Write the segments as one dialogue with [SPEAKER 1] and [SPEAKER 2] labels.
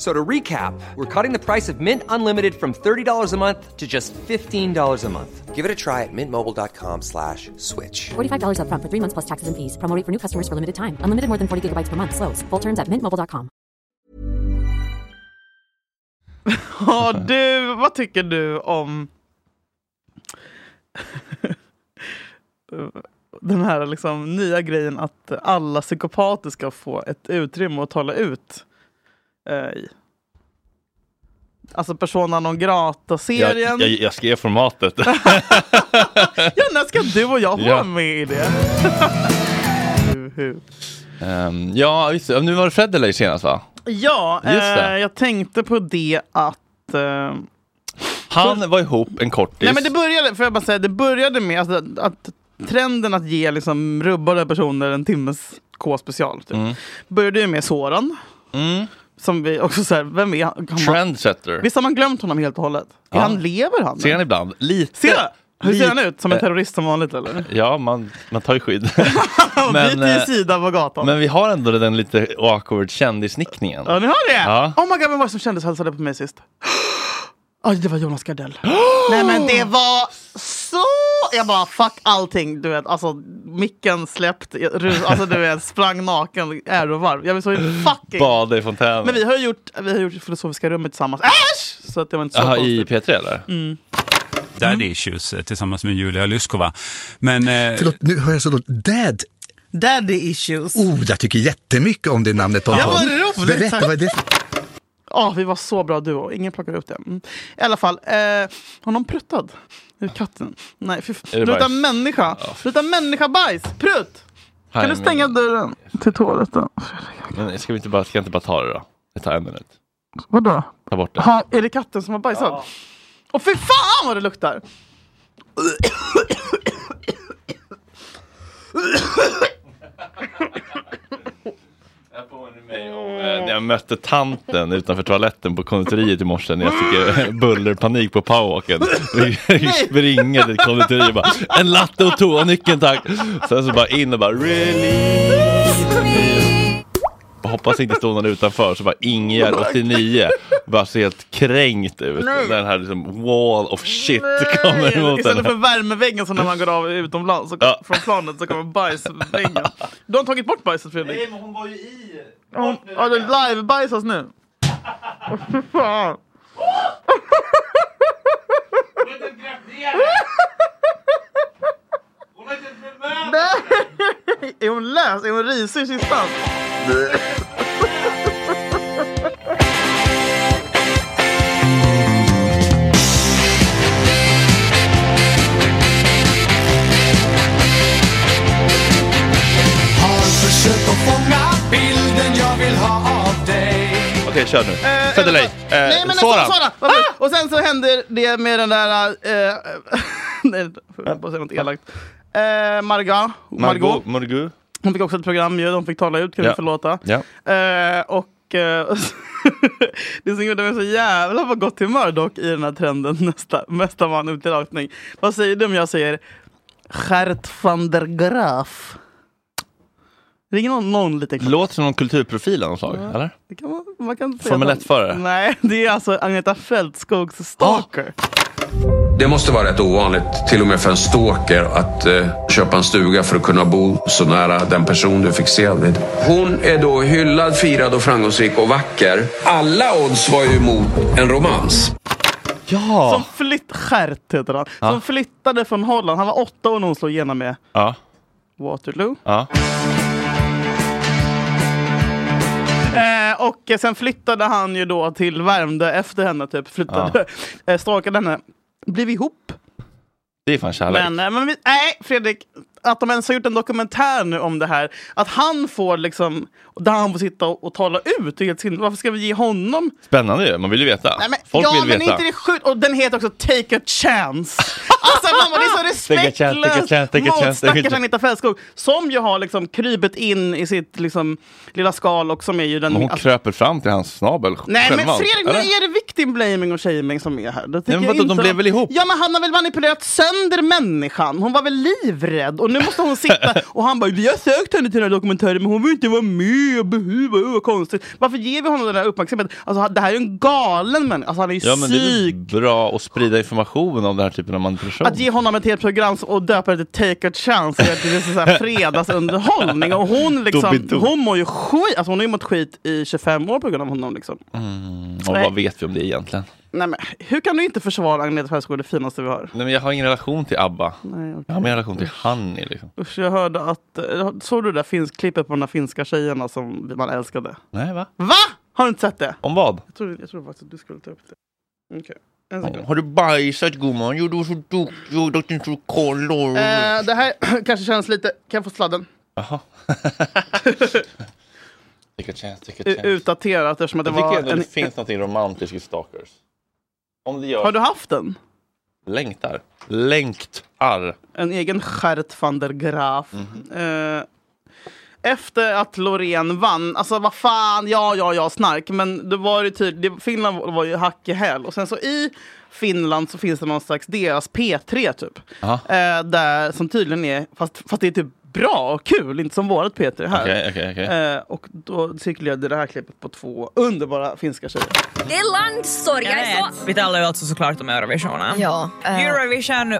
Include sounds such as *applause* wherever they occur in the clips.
[SPEAKER 1] So to recap, we're cutting the price of Mint Unlimited from $30 a month to just $15 a month. Give it a try at mintmobile.com slash switch.
[SPEAKER 2] $45 upfront for three months plus taxes and fees. Promo rate for new customers for limited time. Unlimited more than 40 gigabytes per month. Slows. Full terms at mintmobile.com.
[SPEAKER 3] Ja, du, vad tycker du om den här liksom nya grejen att alla psykopater ska få ett utrymme att tala ut eh, i? Alltså Persona non
[SPEAKER 4] Jag,
[SPEAKER 3] grata-serien.
[SPEAKER 4] jag, jag skrev formatet.
[SPEAKER 3] Ja, när ska du och jag vara
[SPEAKER 4] Ja.
[SPEAKER 3] med i det? *laughs* Huhu.
[SPEAKER 4] *laughs* Ehm, ja, just det. Nu var det Federley senast va?
[SPEAKER 3] ja,
[SPEAKER 4] Just det.
[SPEAKER 3] eh, jag tänkte på det att eh,
[SPEAKER 4] Han var ihop en kortis.
[SPEAKER 3] Nej men det började, får jag bara säga, det började med alltså, att, att trenden att ge liksom, rubbade personer en timmes K-special typ,
[SPEAKER 4] Mm.
[SPEAKER 3] började ju med Soran. Som vi också så här, vem är han? Har man,
[SPEAKER 4] Trendsetter.
[SPEAKER 3] visst har man glömt honom helt och hållet? Är
[SPEAKER 4] Ja.
[SPEAKER 3] han, lever han?
[SPEAKER 4] Ser han ibland? Lite.
[SPEAKER 3] Ser jag? Hur ser
[SPEAKER 4] lite-
[SPEAKER 3] han ut? Som en
[SPEAKER 4] eh,
[SPEAKER 3] terrorist som vanligt eller? *laughs*
[SPEAKER 4] Ja, man, man tar ju skydd. *laughs*
[SPEAKER 3] Men,
[SPEAKER 4] men,
[SPEAKER 3] Byter ju
[SPEAKER 4] eh,
[SPEAKER 3] sida på gatan.
[SPEAKER 4] men vi har ändå den lite awkward kändisnickningen.
[SPEAKER 3] Ja, ni hör det?
[SPEAKER 4] Ja.
[SPEAKER 3] Oh my god, vem var det som kändes hälsade på mig sist? *gasps* Oj, det var Jonas Gardell.
[SPEAKER 4] *gasps*
[SPEAKER 3] Nej men det var så... Jag bara fuck allting. Du vet, alltså micken släppt, jag
[SPEAKER 4] *laughs*
[SPEAKER 3] rus, alltså du vet, sprang naken ärovarv. Jag vill
[SPEAKER 4] *gasps*
[SPEAKER 3] så fucking...
[SPEAKER 4] Bada i fontänen.
[SPEAKER 3] Men vi har ju gjort, vi har gjort Filosofiska rummet tillsammans. Äsch! Så att det var inte så
[SPEAKER 4] Jaha, i
[SPEAKER 3] konstigt.
[SPEAKER 4] P3 eller?
[SPEAKER 3] Mm.
[SPEAKER 5] Daddy Issues eh, tillsammans med Julia Lyskova. Men eh,
[SPEAKER 6] Förlåt, nu hör jag så dåligt. Dad!
[SPEAKER 3] Daddy issues. Ja,
[SPEAKER 6] Oh, jag tycker jättemycket om det namnet på en
[SPEAKER 3] Ja,
[SPEAKER 6] podd.
[SPEAKER 3] vad roligt.
[SPEAKER 6] Berätta, vad är det?
[SPEAKER 3] vi var så bra duo. Ingen plockar upp det. Mm. I alla fall, eh, har någon pruttat? Är det katten? Nej, fy
[SPEAKER 4] Är det
[SPEAKER 3] fan. Prutta
[SPEAKER 4] bajs?
[SPEAKER 3] människa. Prutta människa bajs. Prutt!
[SPEAKER 4] Hi,
[SPEAKER 3] Kan du stänga
[SPEAKER 4] men,
[SPEAKER 3] dörren till toaletten?
[SPEAKER 4] men ska vi inte bara, ska jag inte bara ta det då? Det tar en minut.
[SPEAKER 3] Vadå?
[SPEAKER 4] Ta bort det.
[SPEAKER 3] Ha, är det katten som har bajsat? Och fy fan vad det luktar!
[SPEAKER 4] Jag påminner mig om eh,
[SPEAKER 3] Mm.
[SPEAKER 4] när jag mötte tanten utanför toaletten på konditoriet i morse när jag fick eh,
[SPEAKER 3] Mm.
[SPEAKER 4] bullerpanik
[SPEAKER 3] *laughs*
[SPEAKER 4] på powwalken. Vi vi springer till konditoriet och bara en latte och toanyckeln tack. Sen så bara in och bara release me. Och Hoppas det inte stod någon utanför så bara Ingegärd 89 bara ser helt kränkt ut.
[SPEAKER 3] Nej.
[SPEAKER 4] Den här liksom wall of shit kommer
[SPEAKER 3] Nej,
[SPEAKER 4] emot
[SPEAKER 3] Istället för
[SPEAKER 4] henne.
[SPEAKER 3] värmeväggen som när man går av utomlands så,
[SPEAKER 4] Ja.
[SPEAKER 3] från planet så kommer bajsväggen. Du har tagit bort bajset Fredrik?
[SPEAKER 4] men hon var ju i.
[SPEAKER 3] Hon- Ja, det live-bajsas nu. Åh, fy fan. Nej! Är hon lös? Är hon risig i kistan?
[SPEAKER 4] Okej kör nu.
[SPEAKER 3] Eh,
[SPEAKER 4] Federley.
[SPEAKER 3] eller- Nej men
[SPEAKER 4] Soran.
[SPEAKER 3] alltså Soran! Varför?
[SPEAKER 4] Ah!
[SPEAKER 3] Och sen så händer det med den där... Eh, *laughs* nej, jag höll på att säga något elakt. Eh, Margot. Margot.
[SPEAKER 4] Margot. Margot.
[SPEAKER 3] Hon fick också ett program ju, de fick tala ut, kan
[SPEAKER 4] Ja.
[SPEAKER 3] vi förlåta.
[SPEAKER 4] Ja.
[SPEAKER 3] Eh, och eh, *laughs* det som gjorde mig så jävla på gott humör dock i den här trenden, *laughs* nästa, mesta man ut i rakning. Vad säger du om jag säger Gert van der Graaf? Ringer någon, någon liten klocka?
[SPEAKER 4] Låter som någon kulturprofil av något slag, eller?
[SPEAKER 3] Det kan man, man kan säga
[SPEAKER 4] Formel
[SPEAKER 3] att-
[SPEAKER 4] 1-förare?
[SPEAKER 3] Nej, det är alltså Agneta Fältskogs stalker.
[SPEAKER 7] Det måste vara rätt ovanligt, till och med för en stalker, att eh, köpa en stuga för att kunna bo så nära den person du är fixerad vid. Hon är då hyllad, firad och framgångsrik och vacker. Alla odds var ju emot en romans.
[SPEAKER 4] Ja!
[SPEAKER 3] Som flytt, Gert heter han. Som flyttade från Holland. Han var åtta år när hon slog igenom med
[SPEAKER 4] Ja.
[SPEAKER 3] Waterloo.
[SPEAKER 4] ja.
[SPEAKER 3] Eh, och eh, sen flyttade han ju då till Värmdö efter henne, typ. Flyttade, *laughs* ja. stalkade henne. Blev ihop.
[SPEAKER 4] Det är fan kärlek.
[SPEAKER 3] Men, eh, men vi, nej, Fredrik. Att de ens har gjort en dokumentär nu om det här. Att han får liksom, där han får sitta och, och tala ut. Det är helt sinnessjukt. Varför ska vi ge honom
[SPEAKER 4] Spännande ju, man vill ju veta.
[SPEAKER 3] Nej, men,
[SPEAKER 4] Folk
[SPEAKER 3] ja,
[SPEAKER 4] vill
[SPEAKER 3] men
[SPEAKER 4] veta.
[SPEAKER 3] inte det sjukt? Och den heter också Take a chance. Alltså mamma, det är så
[SPEAKER 4] *laughs* Take a chance, take a chance,
[SPEAKER 3] respektlöst
[SPEAKER 4] take a chance,
[SPEAKER 3] mot
[SPEAKER 4] take a
[SPEAKER 3] stackars
[SPEAKER 4] chance.
[SPEAKER 3] Anita Fältskog. Som ju har liksom krypit in i sitt liksom, lilla skal och som är ju den...
[SPEAKER 4] Men hon
[SPEAKER 3] alltså-
[SPEAKER 4] kröper fram till hans snabel
[SPEAKER 3] Nej men
[SPEAKER 4] självmant,
[SPEAKER 3] Fredrik, nu
[SPEAKER 4] eller?
[SPEAKER 3] är det victim blaming och shaming som är här. Det tycker
[SPEAKER 4] men
[SPEAKER 3] jag
[SPEAKER 4] vadå, de
[SPEAKER 3] inte
[SPEAKER 4] blev väl ihop?
[SPEAKER 3] Ja men han har väl manipulerat sönder människan. Hon var väl livrädd och nu måste hon
[SPEAKER 4] *laughs*
[SPEAKER 3] sitta och han bara vi har sökt henne till den här dokumentären men hon vill inte vara med. Buhu, vad- vad konstigt. Varför ger vi honom den här uppmärksamheten? Alltså det här är ju en galen människa. Alltså han är ju
[SPEAKER 4] Ja men det är väl
[SPEAKER 3] psyk.
[SPEAKER 4] bra att sprida information om den här typen av manipulation.
[SPEAKER 3] Att ge honom ett helt program och döpa det till Take a Chance, det är så
[SPEAKER 4] *laughs*
[SPEAKER 3] här fredagsunderhållning. Och hon, liksom,
[SPEAKER 4] Dobbidoo.
[SPEAKER 3] hon mår ju skit, alltså hon har ju mått skit i 25 år på grund av honom. Liksom.
[SPEAKER 4] och
[SPEAKER 3] nej.
[SPEAKER 4] vad vet vi om det egentligen?
[SPEAKER 3] Nej, men, hur kan du inte försvara Agneta Fältskog, det finaste vi har?
[SPEAKER 4] Nej men jag har ingen relation till ABBA.
[SPEAKER 3] Nej, okej.
[SPEAKER 4] Jag har mer relation till Hanni liksom.
[SPEAKER 3] Usch, jag hörde att... eh, Såg du det där finns klippet på de där finska tjejerna som man älskade?
[SPEAKER 4] Nej va?
[SPEAKER 3] Va? Har du inte sett det?
[SPEAKER 4] Om vad?
[SPEAKER 3] Jag trodde, jag trodde faktiskt att du skulle ta upp det. Okej, en sekund.
[SPEAKER 4] Har du bajsat gumman? Jo du är så duktig, jag har inte så koll.
[SPEAKER 3] Eh, det här *clears throat* kanske känns lite... Kan jag få sladden?
[SPEAKER 4] Jaha. *laughs* Take a chance, take a
[SPEAKER 3] U-
[SPEAKER 4] chance.
[SPEAKER 3] utdaterat eftersom att det
[SPEAKER 4] Jag tycker
[SPEAKER 3] var...
[SPEAKER 4] ändå
[SPEAKER 3] En,
[SPEAKER 4] det finns något romantiskt i stalkers. Om det gör
[SPEAKER 3] har du haft den?
[SPEAKER 4] längtar. Längtar.
[SPEAKER 3] En egen Gert van der Graaf.
[SPEAKER 4] Mhm.
[SPEAKER 3] Eh, efter att Loreen vann, alltså vad fan, ja, ja, ja, snark. Men det var ju tydligt, Finland var ju hack i häl. Och sen så i Finland så finns det någon slags deras P3 typ. Eh, där, som tydligen är, fast, fast det är typ bra och kul, inte som vårt P3 här.
[SPEAKER 4] Okej, okej, okej.
[SPEAKER 3] Eh, och då cirkulerade det här klippet på två underbara finska tjejer.
[SPEAKER 8] Det er är landssorg, jag är er så...
[SPEAKER 2] Vi talar ju alltså såklart om Eurovisionen.
[SPEAKER 8] Ja, eh,
[SPEAKER 2] Eurovision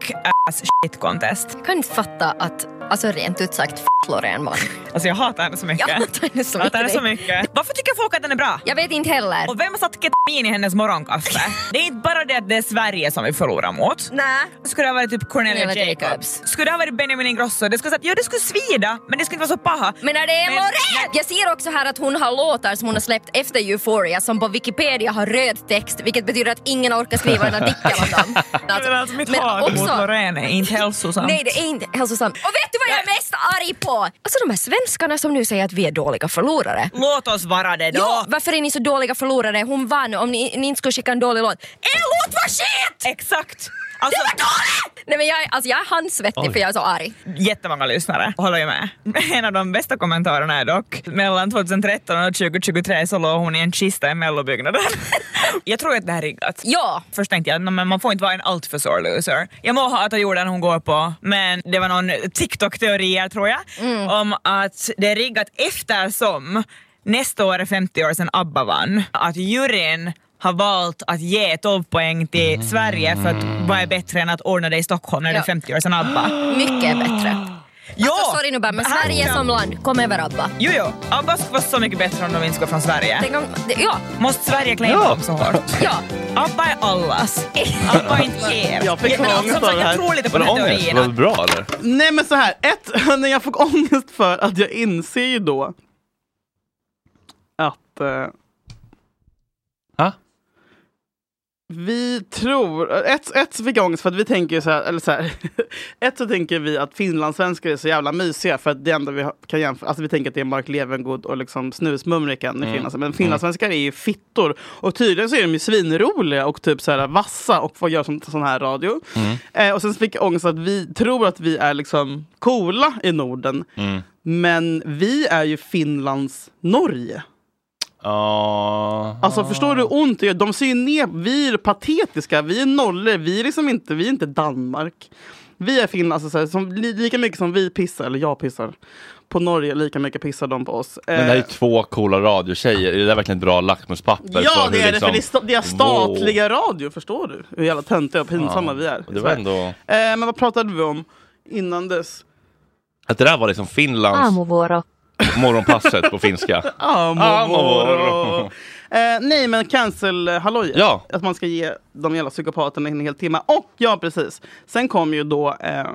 [SPEAKER 2] f**k ass shit contest.
[SPEAKER 8] jag kan inte fatta att, alltså rent ut sagt, f- Loreen vann.
[SPEAKER 2] Alltså jag hatar henne så
[SPEAKER 8] *laughs*
[SPEAKER 2] mycket.
[SPEAKER 8] Jag hatar henne så
[SPEAKER 2] Jag hatar henne så
[SPEAKER 8] mycket.
[SPEAKER 2] mycket. Varför tycker folk att den är bra?
[SPEAKER 8] Jag vet inte heller.
[SPEAKER 2] Och vem har satt ketamin i
[SPEAKER 8] *laughs*
[SPEAKER 2] hennes morgonkaffe? Det är inte bara det att det är Sverige som vi förlorar mot.
[SPEAKER 8] Nej.
[SPEAKER 2] Skulle det ha varit typ Cornelia
[SPEAKER 8] Cornelia
[SPEAKER 2] Jacobs?
[SPEAKER 8] Jacobs.
[SPEAKER 2] Skulle det ha varit Benjamin Ingrosso? Det skulle ha sagt, ja det skulle svida men det skulle inte vara så paha.
[SPEAKER 8] Men när det är
[SPEAKER 2] Men-
[SPEAKER 8] Loreen! Jag ser också här att hon har låtar som hon har släppt efter Euphoria som på Wikipedia har röd text vilket betyder att ingen orkar skriva en artikel om dem.
[SPEAKER 2] *laughs*
[SPEAKER 8] Att-
[SPEAKER 2] Men alltså mitt hat mot Loreen är inte hälsosamt.
[SPEAKER 8] Nej, det är inte hälsosamt. Och vet du vad jag är mest arg på? Alltså de här svenskarna som nu säger att vi är dåliga förlorare.
[SPEAKER 2] Låt oss vara det då.
[SPEAKER 8] Ja, varför är ni så dåliga förlorare? Hon vann om ni, ni inte skulle skicka en dålig låt. Er låt var shit!
[SPEAKER 2] Exakt! Alltså,
[SPEAKER 8] Det var dåligt! Nej men jag, är- alltså, jag är handsvettig för jag är så arg.
[SPEAKER 2] jättemånga lyssnare håller ju med. En av de bästa kommentarerna är dock, mellan 2013 och 2023 så låg hon i en kista i mellobyggnaden. jag tror att det här är riggat.
[SPEAKER 8] Ja,
[SPEAKER 2] Först tänkte jag att man får inte vara en alltför sore loser. Jag må hata jorden hon går på, men det var någon TikTok-teorier tror jag, om att det är riggat eftersom nästa år är 50 år sedan ABBA vann. Att juryn har valt att ge 12 poäng till Sverige för att vad är bättre än att ordna det i Stockholm när det är
[SPEAKER 8] Ja.
[SPEAKER 2] 50 år sedan ABBA?
[SPEAKER 8] mycket bättre.
[SPEAKER 2] Ja!
[SPEAKER 8] Alltså sorry nu bara, men Sverige som land, kom över ABBA.
[SPEAKER 2] Jo, jo. ABBA skulle vara så mycket bättre om de inte skulle vara från Sverige.
[SPEAKER 8] Tänk om, det, ja,
[SPEAKER 2] Måste Sverige claima
[SPEAKER 4] Ja.
[SPEAKER 2] dem så hårt?
[SPEAKER 8] ja.
[SPEAKER 2] ABBA är allas. ABBA är inte er.
[SPEAKER 3] Jag fick
[SPEAKER 2] men
[SPEAKER 3] ångest
[SPEAKER 2] som
[SPEAKER 3] av
[SPEAKER 2] sagt,
[SPEAKER 3] det här.
[SPEAKER 2] Jag tror lite på
[SPEAKER 4] Var
[SPEAKER 2] den
[SPEAKER 4] det
[SPEAKER 2] här
[SPEAKER 4] ångest? Var det
[SPEAKER 2] teorin.
[SPEAKER 4] bra eller?
[SPEAKER 3] Nej men så här, ett, *laughs* när jag fick ångest för att jag inser ju då att eh,
[SPEAKER 4] Ha?
[SPEAKER 3] vi tror, ett, ett så fick jag ångest för att vi tänker ju så här, eller så här, *laughs* ett så tänker vi att finlandssvenskar är så jävla mysiga för att det enda vi har- kan jämföra, alltså vi tänker att det är Mark Levengood och liksom snusmumriken i Finland, men finlandssvenskar är ju fittor och tydligen så är de ju svinroliga och typ så här vassa och får göra sån, sån här radio. Eh, och sen så fick jag ångest att vi tror att vi är liksom coola i Norden, men vi är ju Finlands Norge.
[SPEAKER 4] Ja.
[SPEAKER 3] Alltså förstår du hur ont det gör? De ser ju ner, vi är patetiska, vi är nollor, vi är liksom inte, vi är inte Danmark. Vi är finnar, alltså, så här, som, li, lika mycket som vi pissar, eller jag pissar, på Norge, lika mycket pissar de på oss. Eh,
[SPEAKER 4] Men det här är ju två coola radiotjejer, är det där verkligen ett bra lackmuspapper?
[SPEAKER 3] ja
[SPEAKER 4] för
[SPEAKER 3] det
[SPEAKER 4] hur
[SPEAKER 3] är det, för det är, sta, det är statliga
[SPEAKER 4] liksom. Wow.
[SPEAKER 3] radio, förstår du? Hur jävla töntiga och pinsamma vi är. i
[SPEAKER 4] Det var
[SPEAKER 3] Sverige.
[SPEAKER 4] ändå...
[SPEAKER 3] eh, men vad pratade vi om innan dess?
[SPEAKER 4] Att det där var liksom Finlands
[SPEAKER 9] Aamuvuoro.
[SPEAKER 4] *laughs* morgonpasset
[SPEAKER 3] *laughs*
[SPEAKER 4] på finska.
[SPEAKER 3] Amor. *laughs* Eh, nej men cancel eh, halloj.
[SPEAKER 4] Ja.
[SPEAKER 3] Att man ska ge de jävla psykopaterna en hel timme. Och ja precis. Sen kom ju då eh,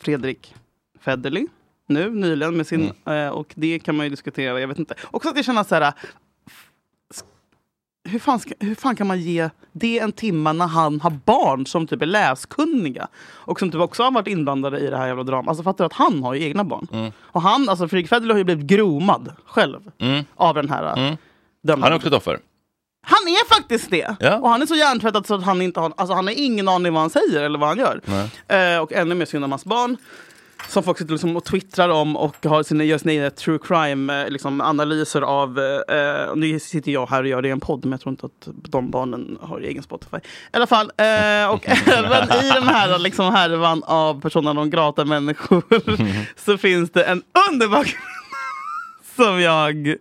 [SPEAKER 3] Fredrik
[SPEAKER 4] Mm.
[SPEAKER 3] Federley. Nu nyligen med sin, eh, och det kan man ju diskutera, jag vet inte. Också att jag känner så här, hur, fan ska, hur fan kan man ge det en timma när han har barn som typ är läskunniga? Och som typ också har varit inblandade i det här jävla dramat. Alltså fattar du att han har ju egna barn?
[SPEAKER 4] Mm.
[SPEAKER 3] Och han, alltså Fredrik Federley har ju blivit gromad själv
[SPEAKER 4] Mm.
[SPEAKER 3] av den här. eh,
[SPEAKER 4] Mm.
[SPEAKER 3] dömda.
[SPEAKER 4] Han är också ett offer.
[SPEAKER 3] Han är faktiskt det!
[SPEAKER 4] Ja.
[SPEAKER 3] Och han är så hjärntvättad så att han inte har, alltså han har ingen aning vad han säger eller vad han gör.
[SPEAKER 4] Nej.
[SPEAKER 3] Eh, och ännu mer synd om hans barn. Som folk sitter liksom och twittrar om och har sina, gör sina egna true crime-analyser liksom analyser av... eh, Eh, och nu sitter jag här och gör det i en podd, men jag tror inte att de barnen har egen Spotify. I alla fall, eh,
[SPEAKER 4] *laughs*
[SPEAKER 3] och även i den här liksom, härvan av personer de grata
[SPEAKER 4] *laughs*
[SPEAKER 3] människor så finns det en underbar kvinna *laughs* som jag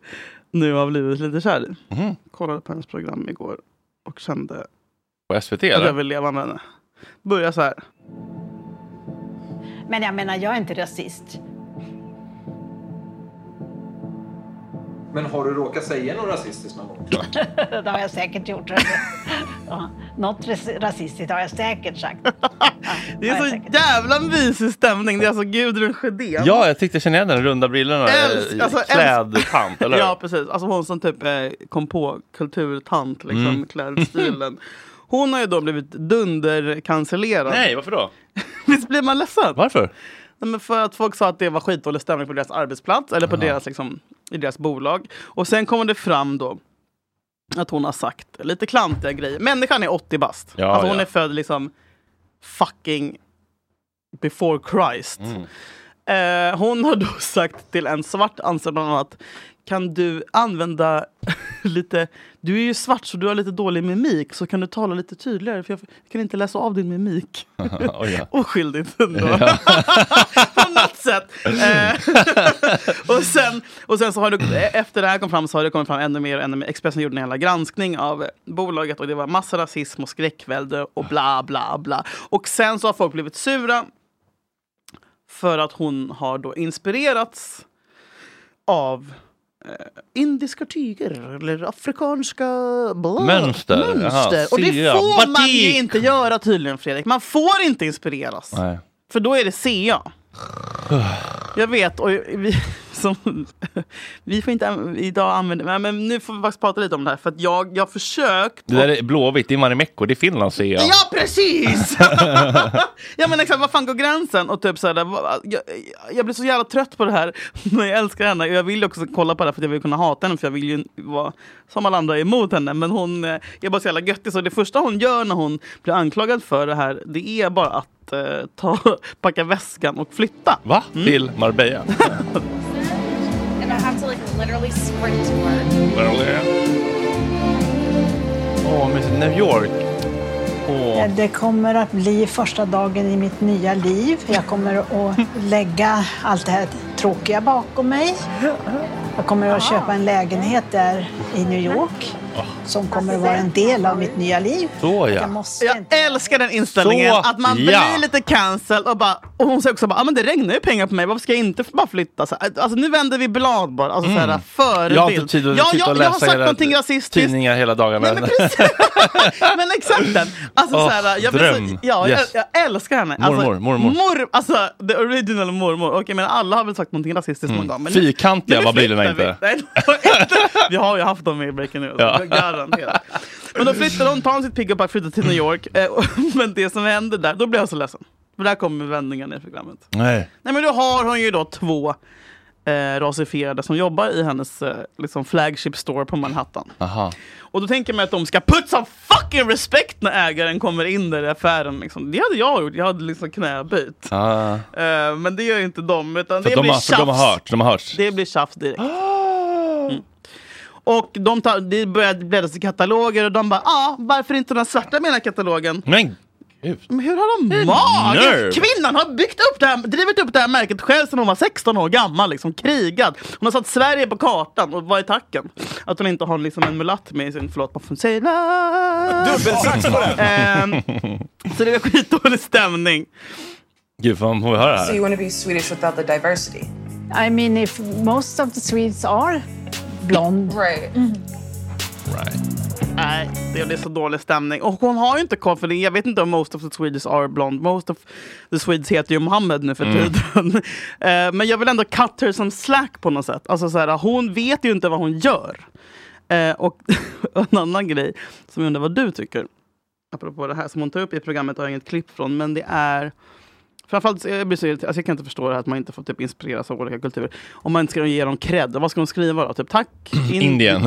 [SPEAKER 3] nu har blivit lite kär i. Kollade på hennes program igår och kände
[SPEAKER 4] På SVT
[SPEAKER 3] att jag
[SPEAKER 4] eller?
[SPEAKER 3] vill leva med henne. Börja så här.
[SPEAKER 10] Men jag menar, jag är inte rasist.
[SPEAKER 11] Men har du råkat säga något rasistiskt någon gång?
[SPEAKER 10] det har jag säkert gjort. *laughs* ja. Något ras- rasistiskt har jag säkert sagt.
[SPEAKER 3] Det är så jävla mysig stämning. Det är alltså Gudrun Sjödén.
[SPEAKER 4] Ja, jag tyckte jag kände igen den runda brillorna.
[SPEAKER 3] Älsk-
[SPEAKER 4] eh,
[SPEAKER 3] alltså, älsk-
[SPEAKER 4] Klädtant,
[SPEAKER 3] *laughs*
[SPEAKER 4] eller
[SPEAKER 3] Ja, precis. Alltså hon som typ eh, kom på kulturtant, liksom,
[SPEAKER 4] Mm.
[SPEAKER 3] klädstilen. Hon har ju då blivit dundercancellerad.
[SPEAKER 4] Nej, varför då?
[SPEAKER 3] Visst blir man ledsen?
[SPEAKER 4] Varför?
[SPEAKER 3] Nej, men för att folk sa att det var skitdålig stämning på deras arbetsplats eller på deras, liksom, i deras bolag. Och sen kommer det fram då att hon har sagt lite klantiga grejer. Människan är 80 bast.
[SPEAKER 4] Ja,
[SPEAKER 3] alltså hon
[SPEAKER 4] ja.
[SPEAKER 3] är född liksom fucking before Christ.
[SPEAKER 4] Mm.
[SPEAKER 3] Eh, hon har då *laughs* sagt till en svart anställd bland annat kan du använda *laughs* lite, du är ju svart så du har lite dålig mimik så kan du tala lite tydligare för jag kan inte läsa av din mimik.
[SPEAKER 4] Oj, ja.
[SPEAKER 3] Oskyldigt ändå.
[SPEAKER 4] Ja.
[SPEAKER 3] *laughs* På något sätt. Eh, *laughs* och, sen, och sen så har det, efter det här kom fram så har det kommit fram ännu mer och ännu mer. Expressen gjorde en jävla granskning av eh, bolaget och det var massa rasism och skräckvälde och bla bla bla. Och sen så har folk blivit sura för att hon har då inspirerats av eh, indiska tyger eller afrikanska bla,
[SPEAKER 4] Mönster, jaha,
[SPEAKER 3] mönster. Och det
[SPEAKER 4] syra,
[SPEAKER 3] får man ju
[SPEAKER 4] batik.
[SPEAKER 3] inte göra tydligen Fredrik. Man får inte inspireras.
[SPEAKER 4] Nej.
[SPEAKER 3] För då är det CA. Jag vet, och vi, *laughs* som, vi får inte an- idag använda... Men, men nu får vi faktiskt prata lite om det här, för att jag jag har försökt...
[SPEAKER 4] Det där är Blåvitt, det är Marimekko, det är Finland ser jag.
[SPEAKER 3] Ja, precis! ja, men exakt, var fan går gränsen? Och typ så här, där, va- jag, jag blir så jävla trött på det här, *laughs* men jag älskar henne. Och jag vill också kolla på det här, för att jag vill kunna hata henne, för jag vill ju vara som alla andra emot henne. Men hon eh, är bara så jävla göttig, så det första hon gör när hon blir anklagad för det här, det är bara att eh, ta, *laughs* packa väskan och flytta.
[SPEAKER 4] Va? Till Marbella.
[SPEAKER 12] And I have to like literally sprint to work.
[SPEAKER 4] Marbella. Åh, men till New York. Åh.
[SPEAKER 10] Det kommer att bli första dagen i mitt nya liv. Jag kommer att lägga allt det här tråkiga bakom mig. Jag kommer att köpa en lägenhet där i New York som kommer att vara en del av mitt nya liv.
[SPEAKER 4] Så ja.
[SPEAKER 10] Jag måste
[SPEAKER 2] eh.
[SPEAKER 3] Jag älskar den inställningen.
[SPEAKER 4] Så,
[SPEAKER 3] att man
[SPEAKER 4] ja.
[SPEAKER 3] blir lite cancelled och bara... Och hon säger också bara, ah, men det regnar ju pengar på mig, varför ska jag inte bara flytta? Så, här, alltså nu vänder vi blad bara. Alltså, så här,
[SPEAKER 4] Mm.
[SPEAKER 3] förebild.
[SPEAKER 4] Jag har inte tid att
[SPEAKER 3] ja,
[SPEAKER 4] sitta
[SPEAKER 3] jag,
[SPEAKER 4] och
[SPEAKER 3] jag
[SPEAKER 4] läsa
[SPEAKER 3] har sagt
[SPEAKER 4] era
[SPEAKER 3] någonting rasistiskt.
[SPEAKER 4] tidningar hela dagarna.
[SPEAKER 3] Nej, men precis. men exakt den. Alltså,
[SPEAKER 4] Åh,
[SPEAKER 3] så här, jag, blir så,
[SPEAKER 4] dröm.
[SPEAKER 3] ja,
[SPEAKER 4] Yes.
[SPEAKER 3] jag, jag älskar henne. Alltså,
[SPEAKER 4] Mormor, mormor.
[SPEAKER 3] Mor, alltså, the original mormor. Okej, men alla har väl sagt någonting rasistiskt någon gång. Men nu-
[SPEAKER 4] Mm. Fyrkantiga
[SPEAKER 3] nu
[SPEAKER 4] var bilderna
[SPEAKER 3] flyttar vi.
[SPEAKER 4] inte.
[SPEAKER 3] Nej, det var inte. Vi har ju haft dem med i Breaking News.
[SPEAKER 4] Ja.
[SPEAKER 3] Garanterat. Men då flyttar hon, tar hon sitt pick och pack, flyttar till New York. Eh, och- *laughs* Men det som händer där, då blir jag så ledsen. För där kommer vändningen i programmet.
[SPEAKER 4] *laughs* Nej.
[SPEAKER 3] Nej men då har hon ju då två eh, rasifierade som jobbar i hennes eh, liksom flagship store på Manhattan.
[SPEAKER 4] Aha.
[SPEAKER 3] Och då tänker man att de ska put some fucking respect när ägaren kommer in där i affären. Liksom. Det hade jag gjort, jag hade liksom knäböjt.
[SPEAKER 4] Ah.
[SPEAKER 3] Eh, men det gör ju inte de, utan
[SPEAKER 4] För
[SPEAKER 3] det
[SPEAKER 4] de
[SPEAKER 3] blir
[SPEAKER 4] har- för de har
[SPEAKER 3] tjafs.
[SPEAKER 4] hört, de har hört.
[SPEAKER 3] Det blir tjafs direkt. Mm. Och de tar, det började bläddras i kataloger och de bara, ah, varför inte de svarta med i den här katalogen?
[SPEAKER 4] *gasps* Men gud.
[SPEAKER 3] Men hur har de
[SPEAKER 4] Vilken
[SPEAKER 3] mage?
[SPEAKER 4] nerv.
[SPEAKER 3] Kvinnan har byggt upp det här, drivit upp det här märket själv sedan hon var 16 år gammal. Liksom, krigad. Hon har satt Sverige på kartan och vad är tacken? Att hon inte har liksom en mulatt med i sin, förlåt, vad fan säger jag?
[SPEAKER 4] Dubbelsax på den.
[SPEAKER 3] Ehm, Så det är skitdålig stämning.
[SPEAKER 4] Gud, fan, får vi höra det här?
[SPEAKER 10] want to be Swedish without the diversity? I mean, if most of the Swedes are blond. Right.
[SPEAKER 3] Nej, det blir så dålig stämning. Och hon har ju inte koll, för det. jag vet inte om most of the Swedes are blond. Most of the Swedes heter ju Mohammed nu för
[SPEAKER 4] Mm.
[SPEAKER 3] tiden. *laughs* Eh, Men jag vill ändå cut her som slack på något sätt. Alltså så här, hon vet ju inte vad hon gör. Eh, och *laughs* en annan grej som jag undrar vad du tycker, apropå det här som hon tar upp i programmet, har jag inget klipp från, men det är Framförallt, så- jag, blir så, irriterad. alltså jag kan inte förstå det här att man inte får typ inspireras av olika kulturer. Om man inte ska ge dem cred, vad ska de skriva då? Typ
[SPEAKER 4] *clears throat*
[SPEAKER 3] tack? in- *laughs*
[SPEAKER 4] Indien.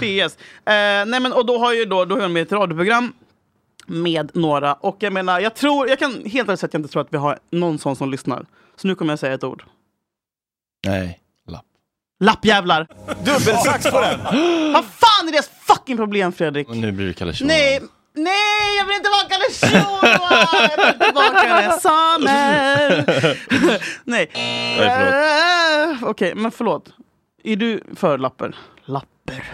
[SPEAKER 3] PS. Eh, nej men, och då har ju då, då har jag med ett radioprogram med några. Och jag menar, jag tror, jag kan helt ärligt säga att jag inte tror att vi har någon sån som lyssnar. Så nu kommer jag säga ett ord.
[SPEAKER 4] Nej, lapp.
[SPEAKER 3] Lappjävlar!
[SPEAKER 4] Dubbelsax på den!
[SPEAKER 3] Vad fan är deras fucking problem Fredrik?
[SPEAKER 4] Nu blir det Kalle Schulman.
[SPEAKER 3] Nej, nej jag vill inte vara Kalle Schulman! Jag vill inte vara Kalle
[SPEAKER 4] *laughs*
[SPEAKER 3] Sommer! nej.
[SPEAKER 4] Nej, förlåt.
[SPEAKER 3] Eh, Okej, men förlåt. Är du för lapper? Lapper.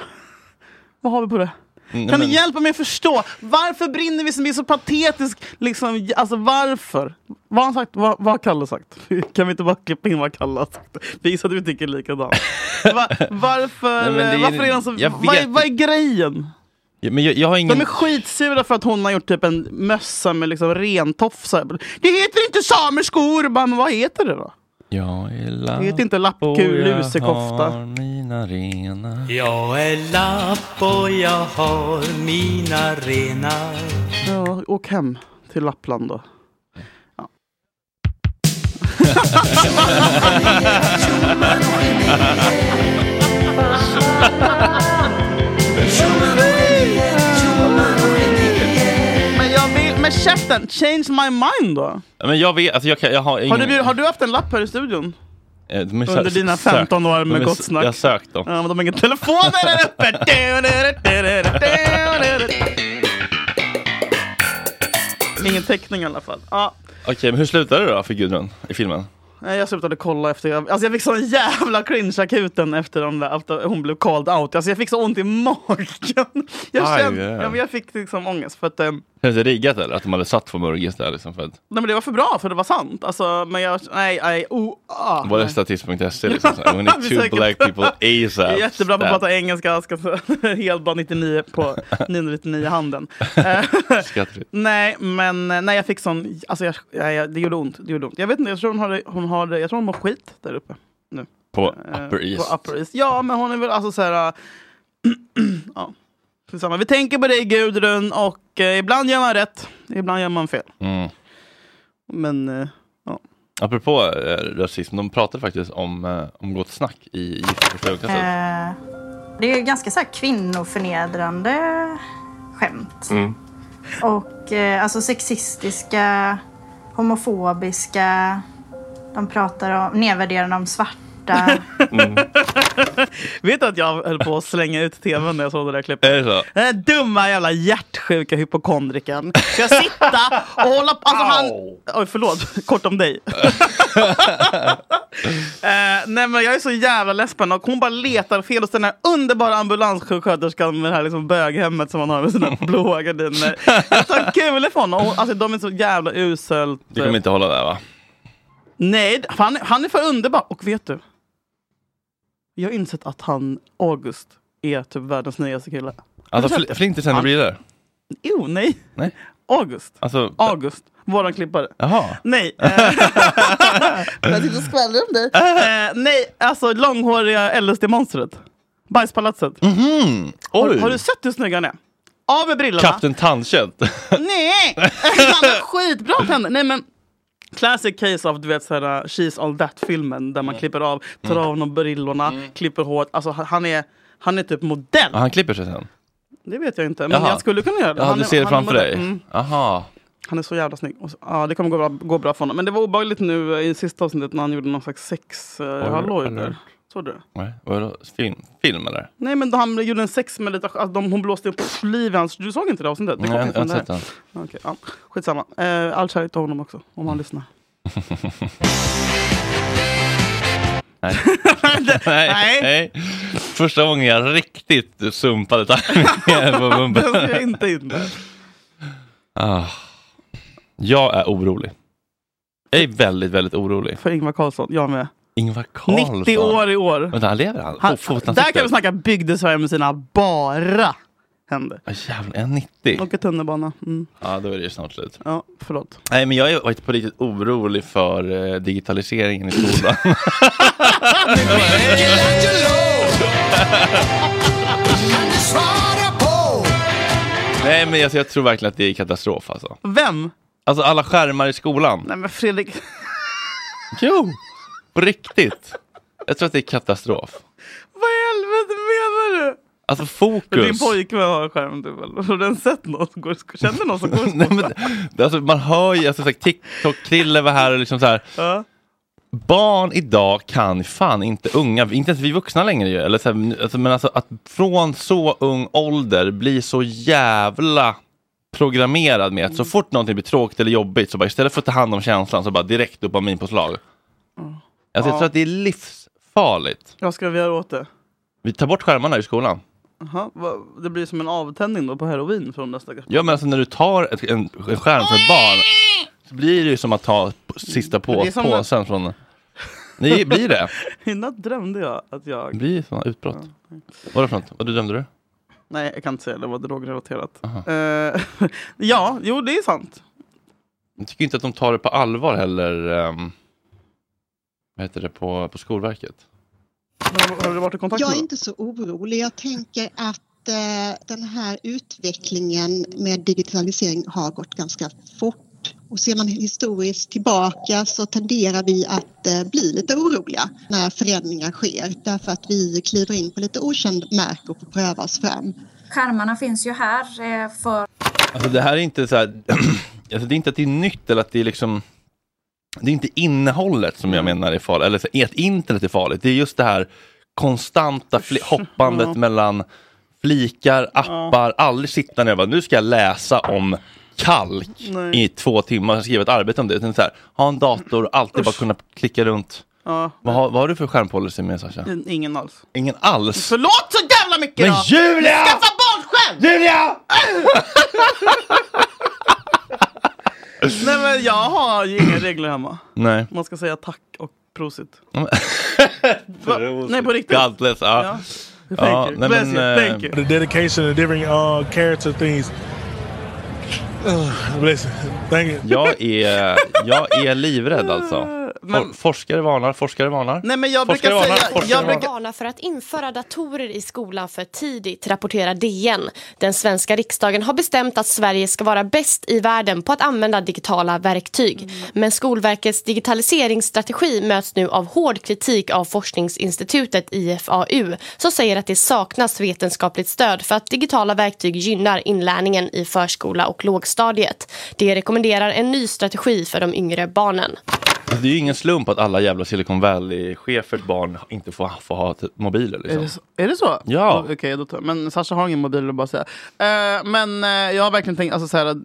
[SPEAKER 3] Vad har vi på det?
[SPEAKER 4] Nej,
[SPEAKER 3] kan
[SPEAKER 4] Mm, men-
[SPEAKER 3] ni hjälpa mig att förstå? Varför brinner vi som är så patetisk? Liksom, alltså varför? Vad har han sagt? Vad vad har Kalle sagt? *laughs* Kan vi inte bara klippa in vad Kalle har sagt? Visa att vi tycker
[SPEAKER 4] *laughs*
[SPEAKER 3] likadant. Va, varför,
[SPEAKER 4] Nej, men det är-
[SPEAKER 3] varför är de så...
[SPEAKER 4] jag
[SPEAKER 3] Vad är,
[SPEAKER 4] vet
[SPEAKER 3] vad är grejen?
[SPEAKER 4] Ja, Men jag, jag har ingen...
[SPEAKER 3] De är skitsura för att hon har gjort typ en mössa med liksom rentofsar. Det heter inte samerskor! Bara, Men vad heter det då?
[SPEAKER 4] Jag är lapp
[SPEAKER 3] Det heter inte
[SPEAKER 4] och
[SPEAKER 3] lappkul,
[SPEAKER 4] Oh, jag
[SPEAKER 3] lusekofta.
[SPEAKER 4] har mina renar.
[SPEAKER 13] Jag är lapp och jag har mina renar.
[SPEAKER 3] Ja, åk hem till Lappland då. *laughs* Men jag vill, men käften, change my mind då.
[SPEAKER 4] Ja, Men jag vet, alltså jag, kan, jag har
[SPEAKER 3] Har
[SPEAKER 4] ingen...
[SPEAKER 3] du, har du haft en lapp här i studion?
[SPEAKER 4] Eh, de är
[SPEAKER 3] under
[SPEAKER 4] sö-
[SPEAKER 3] dina
[SPEAKER 4] sökt.
[SPEAKER 3] 15 år med
[SPEAKER 4] De är
[SPEAKER 3] gott
[SPEAKER 4] s-
[SPEAKER 3] snack?
[SPEAKER 4] Jag har sökt dem.
[SPEAKER 3] Ja, men de har ingen telefon där uppe. Ingen täckning i alla fall. Ja,
[SPEAKER 4] Okej, men hur slutar det då för Gudrun i filmen?
[SPEAKER 3] nej, jag slutade kolla efter... jag- Alltså jag fick sån jävla cringe-akuten efter de där, efter hon blev called out. Alltså jag fick så ont i magen. Jag,
[SPEAKER 4] Aj,
[SPEAKER 3] kände,
[SPEAKER 4] aj, aj.
[SPEAKER 3] ja, men jag fick liksom ångest för att... ehm,
[SPEAKER 4] Känns det riggat eller? Att de hade satt på Murgis där liksom för att...
[SPEAKER 3] Nej men det var för bra för det var sant. Alltså, men jag... Nej, nej, oh, ah,
[SPEAKER 4] Var det
[SPEAKER 3] nej. *laughs*
[SPEAKER 4] statist.se liksom? så här, We need
[SPEAKER 3] Vi
[SPEAKER 4] two
[SPEAKER 3] söker
[SPEAKER 4] black
[SPEAKER 3] på-
[SPEAKER 4] people ASAP.
[SPEAKER 3] Jag är jättebra på att
[SPEAKER 4] Stat.
[SPEAKER 3] prata engelska. Jag ska *laughs* helt bara 99 på 999 handen. Eh,
[SPEAKER 4] Skattfritt.
[SPEAKER 3] nej, men eh, nej, jag fick sån... Alltså, jag, jag, jag, det gjorde ont. Det gjorde ont. Jag vet inte, jag tror hon har, det- hon har det, Jag tror hon mår skit där uppe nu.
[SPEAKER 4] På
[SPEAKER 3] Eh,
[SPEAKER 4] Upper East.
[SPEAKER 3] På Upper East. Ja, men hon är väl alltså så här... eh, *clears throat* ja. Skitsamma. Vi tänker på dig Gudrun och eh, ibland gör man rätt, ibland gör man fel.
[SPEAKER 4] Mm.
[SPEAKER 3] Men eh, ja.
[SPEAKER 4] Apropå eh, rasism, de pratade faktiskt om, eh, om gott snack i Gifta första ögonkastet.
[SPEAKER 14] Eh, det är ju ganska så här kvinnoförnedrande skämt.
[SPEAKER 4] Mm.
[SPEAKER 14] Och eh, alltså sexistiska, homofobiska. De pratar om nedvärderande om svarta.
[SPEAKER 3] Vet du att jag höll på att slänga ut tvn när jag såg det där klippet?
[SPEAKER 4] Är det så?
[SPEAKER 3] Den där dumma jävla hjärtsjuka hypokondriken. Ska sitta och hålla på... Alltså han... Oj, förlåt. Kort om
[SPEAKER 4] *laughs*
[SPEAKER 3] dig. Eh, nej men jag är så jävla ledsen och hon bara letar fel hos den här underbara ambulanssjuksköterskan med det här liksom böghemmet som man har med sina blåa gardiner. Jag tar kulor från honom. Och, Alltså de är så jävla uselt. eh,
[SPEAKER 4] Du kommer inte hålla där va?
[SPEAKER 3] Nej, han, han är för underbar. Och vet du? Jag har insett att han, August, är typ världens nyaste kille.
[SPEAKER 4] Alltså fl- flintisen, det blir det.
[SPEAKER 3] Jo, nej.
[SPEAKER 4] Nej.
[SPEAKER 3] August.
[SPEAKER 4] Alltså,
[SPEAKER 3] August, våran klippare.
[SPEAKER 4] jaha. *laughs*
[SPEAKER 3] Nej. eh, Jag sitter och skvallrar om dig. Eh, nej, alltså långhåriga LSD-monstret. Bajspalatset. Har,
[SPEAKER 4] Mm, Oj.
[SPEAKER 3] har du sett hur snygg han är? Av med brillorna.
[SPEAKER 4] Kapten Tandkött.
[SPEAKER 3] *laughs* Nej! Han har skitbra tänder. Nej men Classic case of du vet såhär She's All That filmen
[SPEAKER 4] Mm.
[SPEAKER 3] där man klipper av, tar av honom brillorna, klipper håret. Alltså han- han är, han är typ modell.
[SPEAKER 4] Ja, *laughs* han klipper sig sen.
[SPEAKER 3] Det vet jag inte men jag skulle kunna göra det.
[SPEAKER 4] Jaha,
[SPEAKER 3] Han
[SPEAKER 4] du
[SPEAKER 3] är-
[SPEAKER 4] ser det
[SPEAKER 3] han är
[SPEAKER 4] framför
[SPEAKER 3] modell.
[SPEAKER 4] dig?
[SPEAKER 3] Mm.
[SPEAKER 4] Aha.
[SPEAKER 3] Han är så jävla snygg. Och så, ja, det kommer gå bra, gå bra för honom. Men det var obehagligt nu eh, i sista avsnittet när han gjorde någon slags sex... Uh, halloj
[SPEAKER 4] eller?
[SPEAKER 3] där. Såg du det?
[SPEAKER 4] Nej, vadå? Film, film eller?
[SPEAKER 3] Nej men han gjorde en sexmeditation, alltså, de- hon blåste upp liv i hans... Du såg inte det avsnittet? Det
[SPEAKER 4] Nej,
[SPEAKER 3] kom
[SPEAKER 4] jag-
[SPEAKER 3] inte från
[SPEAKER 4] jag har
[SPEAKER 3] det här. Okej,
[SPEAKER 4] sett
[SPEAKER 3] ja. Skitsamma. Uh, all kärlek till honom också, om han lyssnar.
[SPEAKER 4] *laughs* Nej. *laughs* nej. nej. Första gången jag riktigt sumpade tajmingen
[SPEAKER 3] *laughs*
[SPEAKER 4] på
[SPEAKER 3] Den ska jag
[SPEAKER 4] bumpen.
[SPEAKER 3] inte in där.
[SPEAKER 4] Ah. Jag är orolig. Jag är väldigt, väldigt orolig.
[SPEAKER 3] För Ingvar Carlsson, jag med.
[SPEAKER 4] Ingvar Carlsson.
[SPEAKER 3] 90 år i år.
[SPEAKER 4] Vänta, han lever han?
[SPEAKER 3] Han,
[SPEAKER 4] Fot- fotansikte.
[SPEAKER 3] där kan vi snacka bygdesverige med sina bara händer.
[SPEAKER 4] Ah, jävlar, är han 90?
[SPEAKER 3] Åker tunnelbana. Mm.
[SPEAKER 4] Ja, då är det ju snart slut.
[SPEAKER 3] Ja, förlåt.
[SPEAKER 4] Nej, men jag är faktiskt på riktigt orolig för
[SPEAKER 2] *laughs*
[SPEAKER 3] *laughs*
[SPEAKER 4] eh, digitaliseringen i skolan.
[SPEAKER 6] Kan du svara på?
[SPEAKER 4] Nej men alltså, jag tror verkligen att det är katastrof alltså.
[SPEAKER 3] Vem?
[SPEAKER 4] Alltså alla skärmar i skolan.
[SPEAKER 3] Nej men Fredrik. *laughs*
[SPEAKER 4] Jo! På riktigt. Jag tror att det är katastrof.
[SPEAKER 3] Vad i helvete menar du?
[SPEAKER 4] Alltså fokus.
[SPEAKER 3] Din pojkvän har en skärm du väl? Har den sett något? Går i sko- Känner någon som går i
[SPEAKER 4] *laughs* *laughs* Nej, men, det- alltså, man hör ju, alltså, så här, TikTok, Krille var här och liksom så här. Barn idag kan fan inte unga, inte ens vi vuxna längre ju. Eller så här, alltså, men alltså att från så ung ålder bli så jävla programmerad med att så fort någonting blir tråkigt eller jobbigt så bara istället för att ta hand om känslan så bara direkt dopaminpåslag.
[SPEAKER 3] Mm.
[SPEAKER 4] Alltså,
[SPEAKER 3] Ja.
[SPEAKER 4] Jag tror att det är livsfarligt.
[SPEAKER 3] Vad ska vi göra åt det?
[SPEAKER 4] Vi tar bort skärmarna i skolan.
[SPEAKER 3] Aha, vad- det blir som en avtändning då på heroin från nästa gång.
[SPEAKER 4] Ja men alltså när du tar ett, en, en skärm för ett barn så blir det ju som att ta p- sista
[SPEAKER 3] Det
[SPEAKER 4] på,
[SPEAKER 3] är som-
[SPEAKER 4] påsen från... Nej, blir det?
[SPEAKER 3] I natt drömde jag att
[SPEAKER 4] Det
[SPEAKER 3] jag...
[SPEAKER 4] blir sådana utbrott. Vad var det för något? Vad du dömde du?
[SPEAKER 3] Nej, jag kan inte säga det. Det var drogrelaterat. Eh, *laughs* ja, jo det är sant.
[SPEAKER 4] Jag tycker inte att de tar det på allvar heller. ehm, vad heter det på, på Skolverket?
[SPEAKER 3] Men Har har du varit i kontakt med
[SPEAKER 15] Jag är
[SPEAKER 3] någon?
[SPEAKER 15] inte så orolig. Jag tänker att eh, den här utvecklingen med digitalisering har gått ganska fort. Och ser man historiskt tillbaka så tenderar vi att eh, bli lite oroliga när förändringar sker därför att vi kliver in på lite okänd mark och får pröva oss fram.
[SPEAKER 16] Skärmarna finns ju här eh, för
[SPEAKER 4] Alltså det här är inte så här, *clears throat* alltså det är inte att det är nytt eller att det är liksom, det är inte innehållet som
[SPEAKER 3] Mm.
[SPEAKER 4] jag menar är farligt, eller så här, att internet är farligt, det är just det här konstanta fli- hoppandet
[SPEAKER 17] Ja.
[SPEAKER 4] mellan flikar, appar, aldrig sitta ner och bara, nu ska jag läsa om kalk
[SPEAKER 3] Nej.
[SPEAKER 4] i två timmar och skriva ett arbete om det, utan så här, ha en dator, alltid bara kunna klicka runt.
[SPEAKER 3] Ja.
[SPEAKER 4] Vad har, vad har du för skärmpolicy med Sasha?
[SPEAKER 3] Mm, Ingen alls.
[SPEAKER 4] Ingen alls?
[SPEAKER 3] Förlåt så jävla mycket
[SPEAKER 4] Men
[SPEAKER 3] då!
[SPEAKER 4] Julia!
[SPEAKER 3] Skaffa Ah! barnskärm!
[SPEAKER 4] Julia!
[SPEAKER 3] Nej men jag har ju inga regler hemma.
[SPEAKER 4] Nej.
[SPEAKER 3] Man ska säga tack och prosit.
[SPEAKER 4] *laughs* Va?
[SPEAKER 3] Nej, på riktigt.
[SPEAKER 4] Godless, ja.
[SPEAKER 3] Ja. Thank
[SPEAKER 4] Ja,
[SPEAKER 3] you.
[SPEAKER 4] nej,
[SPEAKER 3] Bless
[SPEAKER 4] men,
[SPEAKER 3] you.
[SPEAKER 4] eh,
[SPEAKER 3] Thank you.
[SPEAKER 18] The dedication of different uh, character things. Ugh, bless you. Thank you.
[SPEAKER 4] Jag är, jag är livrädd alltså. For, forskare varnar, forskare varnar.
[SPEAKER 3] Nej, men jag
[SPEAKER 4] forskare
[SPEAKER 3] brukar säga-
[SPEAKER 4] forskare
[SPEAKER 19] Jag brukar
[SPEAKER 4] varnar.
[SPEAKER 19] varna för att införa datorer i skolan för tidigt, rapporterar DN. Den svenska riksdagen har bestämt att Sverige ska vara bäst i världen på att använda digitala verktyg. Men Skolverkets digitaliseringsstrategi möts nu av hård kritik av forskningsinstitutet IFAU som säger att det saknas vetenskapligt stöd för att digitala verktyg gynnar inlärningen i förskola och lågstadiet. Det rekommenderar en ny strategi för de yngre barnen.
[SPEAKER 4] Det är ju ingen slump att alla jävla Silicon Valley-chefers barn inte får, får ha t- mobiler.
[SPEAKER 3] Är
[SPEAKER 4] Liksom.
[SPEAKER 3] det så? Är det så?
[SPEAKER 4] Ja.
[SPEAKER 3] Okej, då tar jag. Men Sasha har ingen mobil, vill bara säga. Eh, men eh, jag har verkligen tänkt, alltså så här, att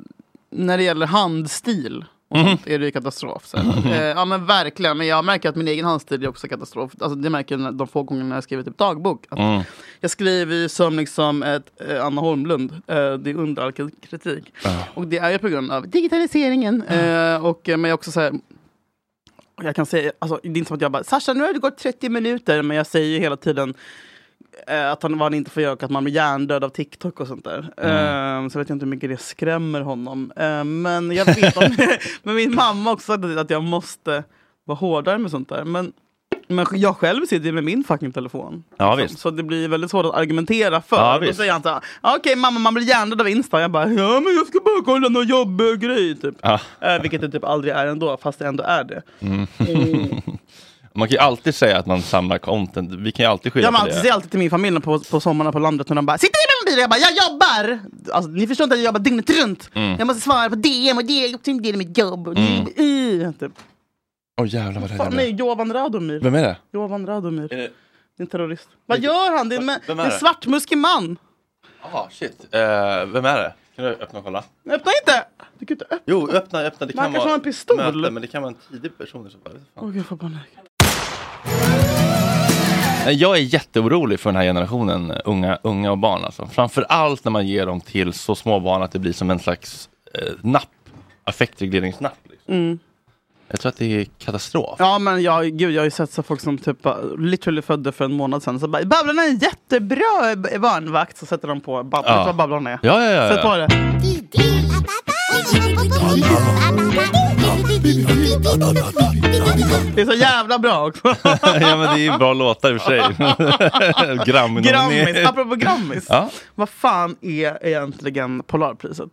[SPEAKER 3] när det gäller handstil och sånt, är det ju katastrof. Så här.
[SPEAKER 4] *laughs* Mhm.
[SPEAKER 3] Eh, ja men verkligen, men jag märker att min egen handstil är också katastrof. Alltså, det märker jag när- de få gångerna jag skriver typ dagbok. Att
[SPEAKER 4] Mm.
[SPEAKER 3] Jag skriver ju som liksom ett, eh, Anna Holmlund, eh, det är under all kritik. Och det är ju på grund av digitaliseringen.
[SPEAKER 4] Mm.
[SPEAKER 3] Eh, och, eh, men jag också så här, jag kan säga, alltså, det är inte som att jag bara “Sasha, nu har det gått 30 minuter” men jag säger ju hela tiden eh, att han, vad han inte får göra och att man blir hjärndöd av TikTok och sånt där.
[SPEAKER 4] Mm.
[SPEAKER 3] Eh, så vet jag inte hur mycket det skrämmer honom. Eh, men jag vet
[SPEAKER 4] *laughs*
[SPEAKER 3] om, *laughs* men min mamma har också sagt att jag måste vara hårdare med sånt där. Men, men jag själv sitter ju med min fucking telefon.
[SPEAKER 4] Ja,
[SPEAKER 3] Liksom.
[SPEAKER 4] visst.
[SPEAKER 3] Så det blir väldigt svårt att argumentera för.
[SPEAKER 4] Ja,
[SPEAKER 3] Då
[SPEAKER 4] visst.
[SPEAKER 3] säger han så här, "Ja, okej mamma man blir hjärndöd av Insta. Jag bara, ja men jag ska bara kolla någon jobbig grej typ.
[SPEAKER 4] Ja.
[SPEAKER 3] Eh, vilket det typ aldrig är ändå, fast det ändå är det.
[SPEAKER 4] Mm.
[SPEAKER 3] Mm.
[SPEAKER 4] Man kan ju alltid säga att man samlar content. Vi kan ju alltid skylla
[SPEAKER 3] Jag
[SPEAKER 4] på
[SPEAKER 3] man
[SPEAKER 4] det.
[SPEAKER 3] säger alltså, alltid till min familj på, på sommarna på landet när de bara “Sitter du med mobilen?” Jag bara “Jag jobbar!” alltså, Ni förstår inte att jag jobbar dygnet runt.
[SPEAKER 4] Mm.
[SPEAKER 3] Jag måste svara på DM och det är också en del av mitt jobb. Och det
[SPEAKER 4] Mm.
[SPEAKER 3] är- uh, typ.
[SPEAKER 4] Åh jävlar vad rädd jag
[SPEAKER 3] Fan,
[SPEAKER 4] blev.
[SPEAKER 3] nej, Jovan Radomir.
[SPEAKER 4] Vem är det?
[SPEAKER 3] Jovan Radomir.
[SPEAKER 4] Är det-
[SPEAKER 3] Det är en terrorist. Vad gör han? Det är en, det
[SPEAKER 4] Vem
[SPEAKER 3] är
[SPEAKER 4] är
[SPEAKER 3] en
[SPEAKER 4] det?
[SPEAKER 3] svartmuskig man.
[SPEAKER 4] Ah, shit. Eh, vem är det? Kan du öppna och kolla?
[SPEAKER 3] Öppna inte!
[SPEAKER 4] Jo, öppna, öppna. Det
[SPEAKER 3] Man
[SPEAKER 4] kan
[SPEAKER 3] kanske
[SPEAKER 4] vara
[SPEAKER 3] har en pistol.
[SPEAKER 4] Möte, men det kan vara en tidig person. i så fall.
[SPEAKER 3] Åh gud, jag får panik.
[SPEAKER 4] Nej, Eh, Jag är jätteorolig för den här generationen eh, unga, unga och barn. Alltså. Framförallt när man ger dem till så små barn att det blir som en slags eh, napp. Affektregleringsnapp. Liksom.
[SPEAKER 3] Mm.
[SPEAKER 4] Jag tror att det är katastrof.
[SPEAKER 3] Ja men jag, gud, jag har ju sett så folk som typ bara literally födde för en månad sedan. Så bara, Babblarna är en jättebra eh, barnvakt. Så sätter de på Babblarna. Vet du vad Babblarna är?
[SPEAKER 4] Ja, ja, ja.
[SPEAKER 3] Sätt på det.
[SPEAKER 6] Didi, ababa, didi, ababa, didi, ababa, didi,
[SPEAKER 3] Det är så jävla bra också.
[SPEAKER 4] *laughs*
[SPEAKER 3] *laughs*
[SPEAKER 4] ja men det är ju bra låtar i och för sig. *laughs*
[SPEAKER 3] Grammis,
[SPEAKER 4] Grammy-nominering.
[SPEAKER 3] apropå Grammis.
[SPEAKER 4] Ja.
[SPEAKER 3] Vad fan är egentligen Polarpriset?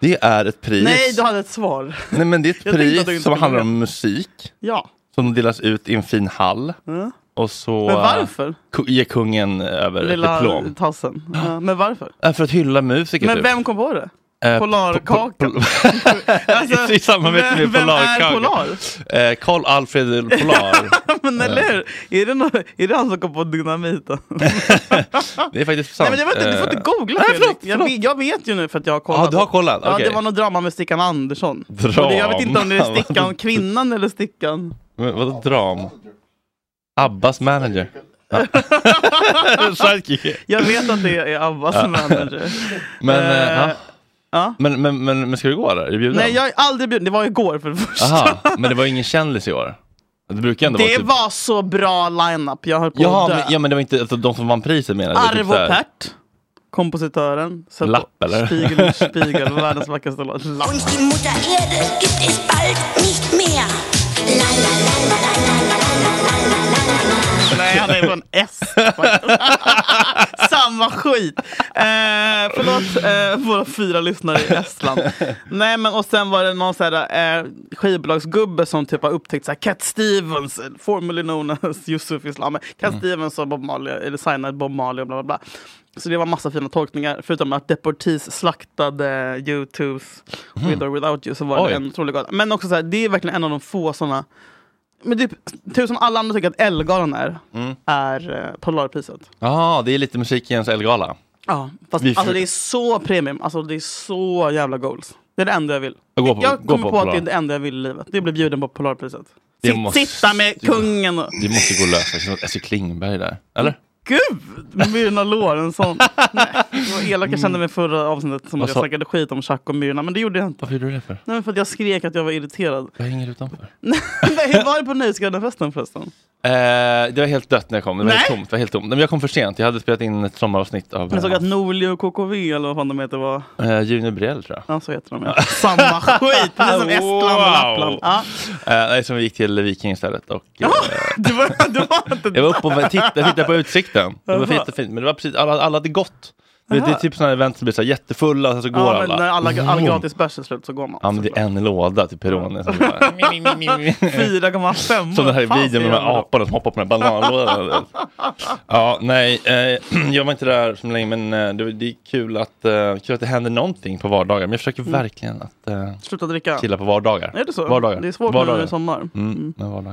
[SPEAKER 4] Det är ett pris.
[SPEAKER 3] Nej, du hade ett svar.
[SPEAKER 4] Nej men det är
[SPEAKER 3] Jag
[SPEAKER 4] ett
[SPEAKER 3] tänkte att du inte
[SPEAKER 4] pris som
[SPEAKER 3] skulle
[SPEAKER 4] handlar
[SPEAKER 3] veta.
[SPEAKER 4] om musik.
[SPEAKER 3] Ja.
[SPEAKER 4] Som delas ut i en fin hall.
[SPEAKER 3] Mm.
[SPEAKER 4] Och så eh,
[SPEAKER 3] Men varför?
[SPEAKER 4] ku- ger kungen över
[SPEAKER 3] Lilla
[SPEAKER 4] ett diplom.
[SPEAKER 3] tassen. Ja, men varför?
[SPEAKER 4] Eh, För att hylla musiker
[SPEAKER 3] Men
[SPEAKER 4] typ.
[SPEAKER 3] vem kom på det?
[SPEAKER 4] Eh,
[SPEAKER 3] Polarkakan? *laughs* Alltså,
[SPEAKER 4] *laughs* I samarbete med
[SPEAKER 3] vem, vem är
[SPEAKER 4] Polarkakan.
[SPEAKER 3] Polar?
[SPEAKER 4] Eh, Carl Alfred
[SPEAKER 3] *laughs*
[SPEAKER 4] Polar.
[SPEAKER 3] Men eller hur? Är det, någon, är det han som kom på dynamiten?
[SPEAKER 4] Det är faktiskt
[SPEAKER 3] *laughs* Nej
[SPEAKER 4] sant.
[SPEAKER 3] men jag vet inte, du får inte
[SPEAKER 4] Eh,
[SPEAKER 3] googla Fredrik. jag, vet, jag vet ju nu för att jag har kollat.
[SPEAKER 4] Ja, du har kollat,
[SPEAKER 3] Ja,
[SPEAKER 4] okej.
[SPEAKER 3] det var något drama med Stickan Andersson.
[SPEAKER 4] Drama.
[SPEAKER 3] Och det, jag vet inte om det
[SPEAKER 4] *laughs*
[SPEAKER 3] är Stickan kvinnan eller Stickan...
[SPEAKER 4] Eh, Men vadå dram?
[SPEAKER 3] *laughs*
[SPEAKER 4] Abbas manager. Ja. Sharky.
[SPEAKER 3] Jag vet att det är Abbas
[SPEAKER 4] Ja.
[SPEAKER 3] manager.
[SPEAKER 4] Men,
[SPEAKER 3] Eh,
[SPEAKER 4] eh, ja. men, men, men, men ska du gå där? Är du bjuden?
[SPEAKER 3] Nej jag är aldrig bjuden, det var igår för det första.
[SPEAKER 4] Aha, men det var ingen kändis i år? Det brukar ändå vara
[SPEAKER 3] Det
[SPEAKER 4] typ...
[SPEAKER 3] var så bra line-up, jag höll på
[SPEAKER 4] Jaha,
[SPEAKER 3] att dö.
[SPEAKER 4] men, ja, men det var inte alltså, de som vann priset menar jag. Det var typ
[SPEAKER 3] Arvo
[SPEAKER 4] så här-
[SPEAKER 3] Pärt, kompositören. satt på
[SPEAKER 4] Lapp, eller?
[SPEAKER 3] Spiegel, Spiegel, världens vackraste låt. Lapp.
[SPEAKER 6] Uns die Mutter Erde gibt es bald nicht mehr. La, la, la, la, la, la, la, la, la, la, la, la, la.
[SPEAKER 3] Nej, han är från
[SPEAKER 4] *laughs*
[SPEAKER 3] S. *laughs* Samma skit. Eh, förlåt eh, våra fyra lyssnare i Estland. Nej, men och sen var det någon så här, eh, skivbolagsgubbe som typ har upptäckt så här, Cat Stevens, eh, formerly known as Yusuf Islam. men Cat Stevens och Bob Marley, eller signade Bob Marley och bla bla bla. Så det var massa fina tolkningar, förutom att Deportees slaktade U2s With or Without You, så var
[SPEAKER 4] Oj.
[SPEAKER 3] det en otrolig gata. Men också så här, det är verkligen en av de få sådana men typ, typ som alla andra tycker att Ellegalan är, är eh, Polarpriset.
[SPEAKER 4] Jaha, det är lite musikens Elgala.
[SPEAKER 3] Ja, fast
[SPEAKER 4] Vi får-
[SPEAKER 3] alltså, det är så premium, alltså det är så jävla goals. Det är det enda jag vill.
[SPEAKER 4] Gå på-
[SPEAKER 3] jag
[SPEAKER 4] gå
[SPEAKER 3] kommer
[SPEAKER 4] på
[SPEAKER 3] på, att det är
[SPEAKER 4] Polar.
[SPEAKER 3] det enda jag vill i livet. Det blir bjuden på Polarpriset.
[SPEAKER 4] Det
[SPEAKER 3] Sitt,
[SPEAKER 4] måste-
[SPEAKER 3] Sitta med kungen och...
[SPEAKER 4] Det måste gå att lösa. Det känns som Astrid Klingberg där. Eller?
[SPEAKER 3] Gud! Myrna
[SPEAKER 4] *laughs*
[SPEAKER 3] Lorentzon. Nej, det var elakt. Jag kände mig förra avsnittet som
[SPEAKER 4] Vad
[SPEAKER 3] att jag
[SPEAKER 4] sa-
[SPEAKER 3] snackade skit om Chuck och Myrna, men det gjorde jag inte.
[SPEAKER 4] Varför gjorde du det för?
[SPEAKER 3] Nej, men för att jag skrek att jag var irriterad. *laughs*
[SPEAKER 4] Jag hänger utanför.
[SPEAKER 3] Nej, hur var det på Nöjesguidenfesten förresten?
[SPEAKER 4] Eh, det var helt dött när jag kom. Det var helt
[SPEAKER 3] Nej.
[SPEAKER 4] tomt. Det var helt tomt. Nej, men jag kom för sent. Jag hade spelat in ett sommaravsnitt av
[SPEAKER 3] Jag såg
[SPEAKER 4] eh,
[SPEAKER 3] att Norli och KKV eller vad fan de heter var...
[SPEAKER 4] eh, Junior Briell tror jag.
[SPEAKER 3] Ja, så heter de
[SPEAKER 4] *laughs*
[SPEAKER 3] ja. Samma skit! Precis som Estland och Lappland. Ja. *laughs*
[SPEAKER 4] Eh, nej, som vi gick till Viking istället. Och, eh,
[SPEAKER 3] Du var, du var inte
[SPEAKER 4] jag var uppe och tittade, jag tittade på utsikten. Det var
[SPEAKER 3] Jaha.
[SPEAKER 4] jättefint. Men det var precis, alla, alla hade gått. Du vet, Det är
[SPEAKER 3] Jaha.
[SPEAKER 4] typ sådana event som blir så här jättefulla och sen så går
[SPEAKER 3] ja, men
[SPEAKER 4] alla.
[SPEAKER 3] när alla, alla
[SPEAKER 4] Vroom.
[SPEAKER 3] gratis bärs är slut så går man.
[SPEAKER 4] Ja men det är en låda till Peroni som bara-
[SPEAKER 3] 4,5.
[SPEAKER 4] Som den här
[SPEAKER 3] Fan,
[SPEAKER 4] videon
[SPEAKER 3] säger
[SPEAKER 4] med de
[SPEAKER 3] jag.
[SPEAKER 4] här aporna som hoppar på den här bananlådan. *laughs* ja, nej, eh, *clears throat* jag var inte där så länge men eh, det, det är kul att, eh, kul att det händer någonting på vardagar. Men jag försöker
[SPEAKER 3] Mm.
[SPEAKER 4] verkligen att eh,
[SPEAKER 3] Sluta dricka.
[SPEAKER 4] chilla på vardagar.
[SPEAKER 3] Är det så?
[SPEAKER 4] Vardagar.
[SPEAKER 3] Det är svårt nu
[SPEAKER 4] vardagar.
[SPEAKER 3] när det är sommar.
[SPEAKER 4] Mm, men vardagar.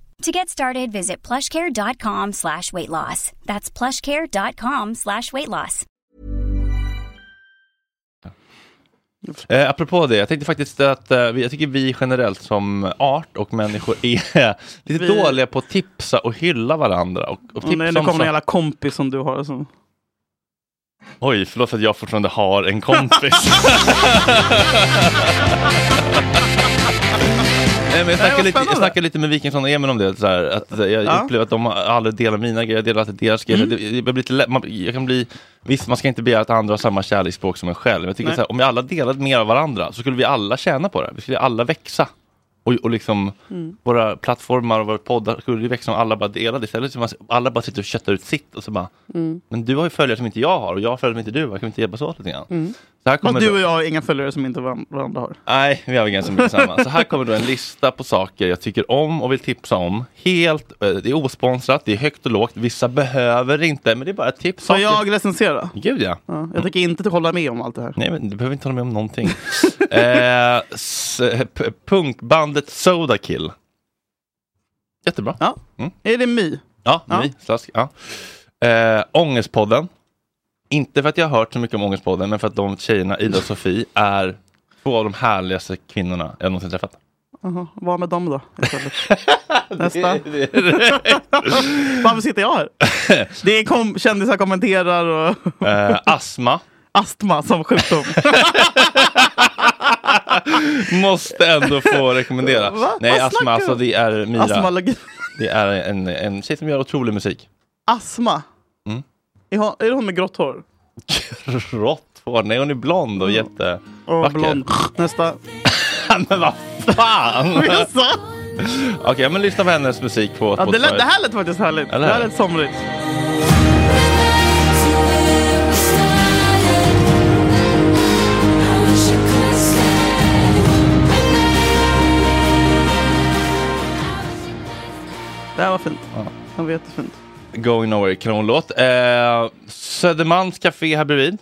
[SPEAKER 17] To get started, visit plushcare.com slash weight loss. That's plushcare.com slash weight loss.
[SPEAKER 4] Eh, apropå det, jag tänkte faktiskt att eh, vi- jag tycker vi generellt som art och människor är *laughs* lite
[SPEAKER 3] Vi-
[SPEAKER 4] dåliga på att tipsa och hylla varandra. Och, och
[SPEAKER 3] Åh,
[SPEAKER 4] tipsa
[SPEAKER 3] Mm, nej, nu
[SPEAKER 4] om
[SPEAKER 3] kommer en
[SPEAKER 4] saker.
[SPEAKER 3] jävla kompis som du har. Alltså.
[SPEAKER 4] Oj, förlåt för att jag fortfarande har en kompis. *laughs* Nej, men jag, snackade lite, jag snackade lite med Wikingsson och Emil om det. Så här, att eh, jag
[SPEAKER 3] Ja. Mm.
[SPEAKER 4] upplever att de aldrig delar mina grejer, jag delar alltid deras grejer. Det, jag, blir lite, lä- man, jag kan bli, visst, man ska inte begära att andra har samma kärleksspråk som en själv. Jag tycker
[SPEAKER 3] Nej.
[SPEAKER 4] så här, om vi alla delade mer av varandra så skulle vi alla tjäna på det. Vi skulle alla växa. Och, och liksom
[SPEAKER 3] Mm.
[SPEAKER 4] våra plattformar och våra poddar skulle ju växa om alla bara delade istället. Så man, alla bara sitter och köttar ut sitt och så bara
[SPEAKER 3] Mm.
[SPEAKER 4] Men du har ju följare som inte jag har och jag har följare som inte du har. Kan vi inte hjälpas åt lite grann?
[SPEAKER 3] Mm.
[SPEAKER 4] Så här kommer
[SPEAKER 3] Fast du
[SPEAKER 4] då-
[SPEAKER 3] och jag har inga följare som inte varan- varandra har.
[SPEAKER 4] Nej, vi har väl ganska mycket samma. Så här kommer då en lista på saker jag tycker om och vill tipsa om. Helt, eh, det är osponsrat, det är högt och lågt. Vissa behöver det inte, men det är bara ett tips.
[SPEAKER 3] Får jag recensera?
[SPEAKER 4] Gud ja.
[SPEAKER 3] Ja, jag tänker inte typ hålla med om allt det här.
[SPEAKER 4] Mm. Nej, men du behöver inte hålla med om någonting. *laughs* eh, s- p- punkbandet Sodakill. Jättebra.
[SPEAKER 3] Ja.
[SPEAKER 4] Mm.
[SPEAKER 3] Är det My?
[SPEAKER 4] Ja,
[SPEAKER 3] Ja.
[SPEAKER 4] My. Slask. Ja. Eh, ångestpodden. Inte för att jag har hört så mycket om Ångestpodden, men för att de tjejerna, Ida och Sofie, är två av de härligaste kvinnorna jag någonsin
[SPEAKER 3] *laughs*
[SPEAKER 4] träffat.
[SPEAKER 3] Jaha, Vad med dem då? istället? Nästa.
[SPEAKER 4] *laughs* Det är det.
[SPEAKER 3] Varför sitter
[SPEAKER 4] *laughs*
[SPEAKER 3] jag här? Det är kom, kändisar kommenterar och... *laughs*
[SPEAKER 4] Eh, astma.
[SPEAKER 3] Astma som sjukdom.
[SPEAKER 4] Måste ändå få rekommendera.
[SPEAKER 3] Va?
[SPEAKER 4] Nej,
[SPEAKER 3] Vad
[SPEAKER 4] astma,
[SPEAKER 3] snackar
[SPEAKER 4] alltså
[SPEAKER 3] du?
[SPEAKER 4] det är Mira.
[SPEAKER 3] Astmalogi.
[SPEAKER 4] Det är en, en tjej som gör otrolig musik.
[SPEAKER 3] Astma.
[SPEAKER 4] Mm.
[SPEAKER 3] Är hon- är det hon med grått hår?
[SPEAKER 4] Rått hår. Nej, hon är blond och
[SPEAKER 3] Mm.
[SPEAKER 4] *laughs*
[SPEAKER 3] Och
[SPEAKER 4] jättevacker.
[SPEAKER 3] blond.
[SPEAKER 4] *laughs*
[SPEAKER 3] Nästa.
[SPEAKER 4] men vad
[SPEAKER 3] *laughs*
[SPEAKER 4] fan!
[SPEAKER 3] Vad jag sa?
[SPEAKER 4] Okej, men lyssna på hennes musik på
[SPEAKER 3] Ja, det,
[SPEAKER 4] Spotify.
[SPEAKER 3] lät, det här lät faktiskt härligt.
[SPEAKER 4] Eller
[SPEAKER 3] Det här
[SPEAKER 4] hur?
[SPEAKER 3] lät somrigt. Det här var fint. Det var jättefint.
[SPEAKER 4] Going Nowhere, kanonlåt. Eh, Södermalms café här bredvid.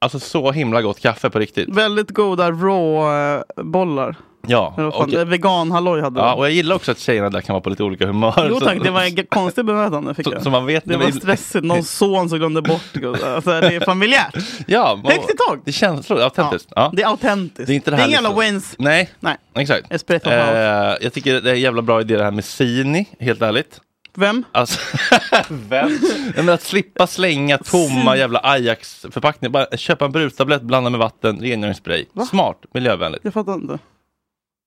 [SPEAKER 4] Alltså så himla gott kaffe på riktigt.
[SPEAKER 3] Väldigt goda rå-bollar.
[SPEAKER 4] Ja, okej.
[SPEAKER 3] Vegan-halloj hade
[SPEAKER 4] ja,
[SPEAKER 3] de.
[SPEAKER 4] och jag gillar också att tjejerna där kan vara på lite olika humör.
[SPEAKER 3] Jo
[SPEAKER 4] Så-
[SPEAKER 3] tack, det var en konstig bemötande fick
[SPEAKER 4] Så-
[SPEAKER 3] jag.
[SPEAKER 4] så man vet
[SPEAKER 3] det
[SPEAKER 4] när
[SPEAKER 3] var
[SPEAKER 4] vi-
[SPEAKER 3] stressigt,
[SPEAKER 4] *laughs*
[SPEAKER 3] någon son som glömde bort. Alltså, det är familjärt.
[SPEAKER 4] Ja, man-
[SPEAKER 3] Högt i tak.
[SPEAKER 4] Det känns så, det är autentiskt. Ja.
[SPEAKER 3] Det är autentiskt.
[SPEAKER 4] Det är inte det
[SPEAKER 3] det är
[SPEAKER 4] här
[SPEAKER 3] ingen jävla
[SPEAKER 4] liksom-
[SPEAKER 3] Waynes.
[SPEAKER 4] Nej,
[SPEAKER 3] Nej.
[SPEAKER 4] exakt.
[SPEAKER 3] Espresso
[SPEAKER 4] Eh,
[SPEAKER 3] house.
[SPEAKER 4] jag tycker det är en jävla bra idé det här med Sini, helt ärligt.
[SPEAKER 3] Vem?
[SPEAKER 4] Alltså, *laughs* vem? Nej, men att slippa slänga tomma jävla Ajax-förpackningar. Bara köpa en brustablett, blanda med vatten, rengöringsspray. Smart, miljövänligt.
[SPEAKER 3] Jag fattar inte.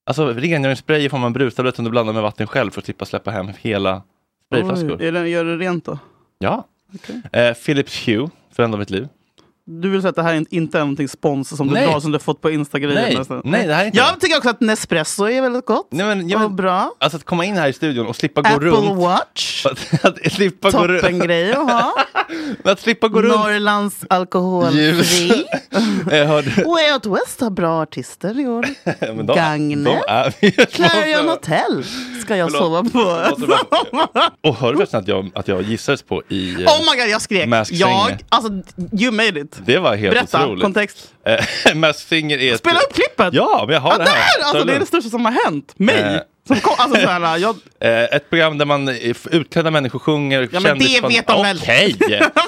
[SPEAKER 4] Alltså rengöringsspray får man en brustablett som du blandar med vatten själv för att slippa släppa hem hela sprayflaskor.
[SPEAKER 3] Oj, är det- Gör det rent då?
[SPEAKER 4] Ja. Eh, Philips Hue, förändrar mitt liv.
[SPEAKER 3] Du vill säga att det här är inte är någonting spons som du
[SPEAKER 4] Nej.
[SPEAKER 3] drar som du fått på Instagram?
[SPEAKER 4] Nej. Nej, det här är inte
[SPEAKER 3] jag
[SPEAKER 4] det.
[SPEAKER 3] tycker också att Nespresso är väldigt gott.
[SPEAKER 4] Nej, men, ja, men,
[SPEAKER 3] bra.
[SPEAKER 4] Alltså att komma in här i studion och slippa gå
[SPEAKER 3] Apple
[SPEAKER 4] runt.
[SPEAKER 3] Watch.
[SPEAKER 4] Att, *laughs* att slippa gå runt.
[SPEAKER 3] Toppen grej att ha.
[SPEAKER 4] Men *laughs* att slippa gå runt.
[SPEAKER 3] Norrlands alkoholfri.
[SPEAKER 4] Eh, hörde,
[SPEAKER 3] Way Out West har bra artister i
[SPEAKER 4] *laughs*
[SPEAKER 3] år.
[SPEAKER 4] men de,
[SPEAKER 3] Gagne.
[SPEAKER 4] De är
[SPEAKER 3] *laughs*
[SPEAKER 4] vi.
[SPEAKER 3] Clarion Hotel ska jag
[SPEAKER 4] Förlåt.
[SPEAKER 3] sova på.
[SPEAKER 4] Låter bra. Och hörde du förresten att jag, att jag gissades på i... eh,
[SPEAKER 3] *laughs* Oh my god, jag skrek.
[SPEAKER 4] Masked
[SPEAKER 3] Jag,
[SPEAKER 4] Singer.
[SPEAKER 3] alltså, you made it.
[SPEAKER 4] Det var helt
[SPEAKER 3] Berätta,
[SPEAKER 4] otroligt.
[SPEAKER 3] kontext.
[SPEAKER 4] Eh, *laughs* Masked Singer är... ett-
[SPEAKER 3] Spela upp klippet!
[SPEAKER 4] Ja, men jag har
[SPEAKER 3] Ja,
[SPEAKER 4] det här.
[SPEAKER 3] där! Alltså, det är det största som har hänt mig.
[SPEAKER 4] Eh.
[SPEAKER 3] Som kom, alltså, så här, jag,
[SPEAKER 4] Eh, ett program där man eh, f- utklädda människor sjunger.
[SPEAKER 3] Ja, men det
[SPEAKER 4] kändisband-
[SPEAKER 3] vet de väl. *laughs*
[SPEAKER 4] Okej!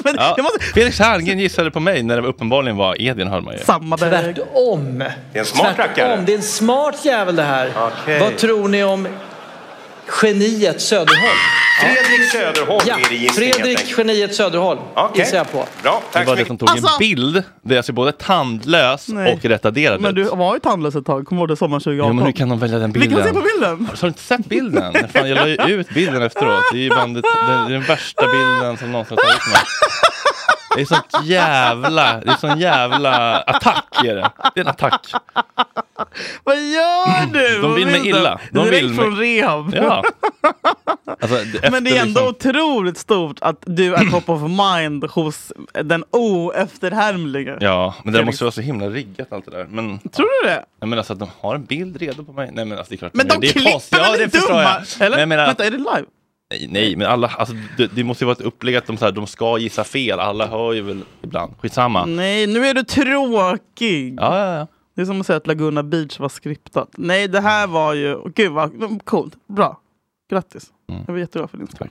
[SPEAKER 3] Men
[SPEAKER 4] ja.
[SPEAKER 3] jag måste-
[SPEAKER 4] Felix Herngren gissade på mig när det uppenbarligen var Edvin Hörman. ju.
[SPEAKER 3] samma bög.
[SPEAKER 5] Om.
[SPEAKER 4] Det är en smart
[SPEAKER 5] Tvärtom.
[SPEAKER 4] rackare.
[SPEAKER 5] Det är en smart jävel det här. Vad tror ni om geniet Söderholm?
[SPEAKER 20] Fredrik Söderholm
[SPEAKER 5] Ja,
[SPEAKER 20] är det gissning helt
[SPEAKER 5] Fredrik
[SPEAKER 20] enkelt.
[SPEAKER 5] geniet Söderholm
[SPEAKER 20] Okej.
[SPEAKER 5] gissar jag på.
[SPEAKER 20] Bra,
[SPEAKER 4] Det
[SPEAKER 20] tack så
[SPEAKER 4] var det
[SPEAKER 20] mycket.
[SPEAKER 4] som tog
[SPEAKER 3] Alltså-
[SPEAKER 4] en bild där jag ser både tandlös
[SPEAKER 3] Nej.
[SPEAKER 4] och retarderad
[SPEAKER 3] Men
[SPEAKER 4] ut.
[SPEAKER 3] du var ju tandlös ett tag, kommer du ihåg det? Sommaren
[SPEAKER 4] Ja,
[SPEAKER 3] 2018.
[SPEAKER 4] men hur kan de välja den
[SPEAKER 3] Vi
[SPEAKER 4] bilden?
[SPEAKER 3] kan se på bilden!
[SPEAKER 4] Har du inte sett bilden? Fan, jag la ju ut bilden efteråt. Det är ju bandet, det är den värsta bilden som någonsin har tagits med. Det är sånt jävla, det är sån jävla attack är det. Det är en attack.
[SPEAKER 3] Vad gör du?
[SPEAKER 4] De vill mig illa. De
[SPEAKER 3] De
[SPEAKER 4] vill
[SPEAKER 3] Direkt
[SPEAKER 4] mig-
[SPEAKER 3] från rehab.
[SPEAKER 4] Ja. Alltså, det-
[SPEAKER 3] Men det är
[SPEAKER 4] efter
[SPEAKER 3] ändå
[SPEAKER 4] liksom-
[SPEAKER 3] otroligt stort att du
[SPEAKER 4] *clears throat*
[SPEAKER 3] är top of mind hos den oefterhärmlige.
[SPEAKER 4] Ja, men det
[SPEAKER 3] Felix.
[SPEAKER 4] måste vara så himla riggat allt det där. Men,
[SPEAKER 3] Tror du det?
[SPEAKER 4] nej, men alltså att de har en bild redo på mig. Nej men alltså det är klart.
[SPEAKER 3] Men
[SPEAKER 4] nej,
[SPEAKER 3] de
[SPEAKER 4] det är
[SPEAKER 3] klipper
[SPEAKER 4] post. Ja,
[SPEAKER 3] väl
[SPEAKER 4] det
[SPEAKER 3] inte
[SPEAKER 4] förstår
[SPEAKER 3] dumma?
[SPEAKER 4] jag.
[SPEAKER 3] Eller?
[SPEAKER 4] Men jag menar-
[SPEAKER 3] Vänta, är det live?
[SPEAKER 4] Nej, nej, men alla, alltså, det, det måste ju vara ett upplägg att de, så här, de ska gissa fel. Alla hör ju väl ibland. Skitsamma.
[SPEAKER 3] Nej, nu är du tråkig.
[SPEAKER 4] Ja, ja, ja.
[SPEAKER 3] Det är som att säga att Laguna Beach var skriptat. Nej, det här var ju... Gud vad coolt. Bra. Grattis.
[SPEAKER 4] Mm.
[SPEAKER 3] Jag var jätteglad för din skull.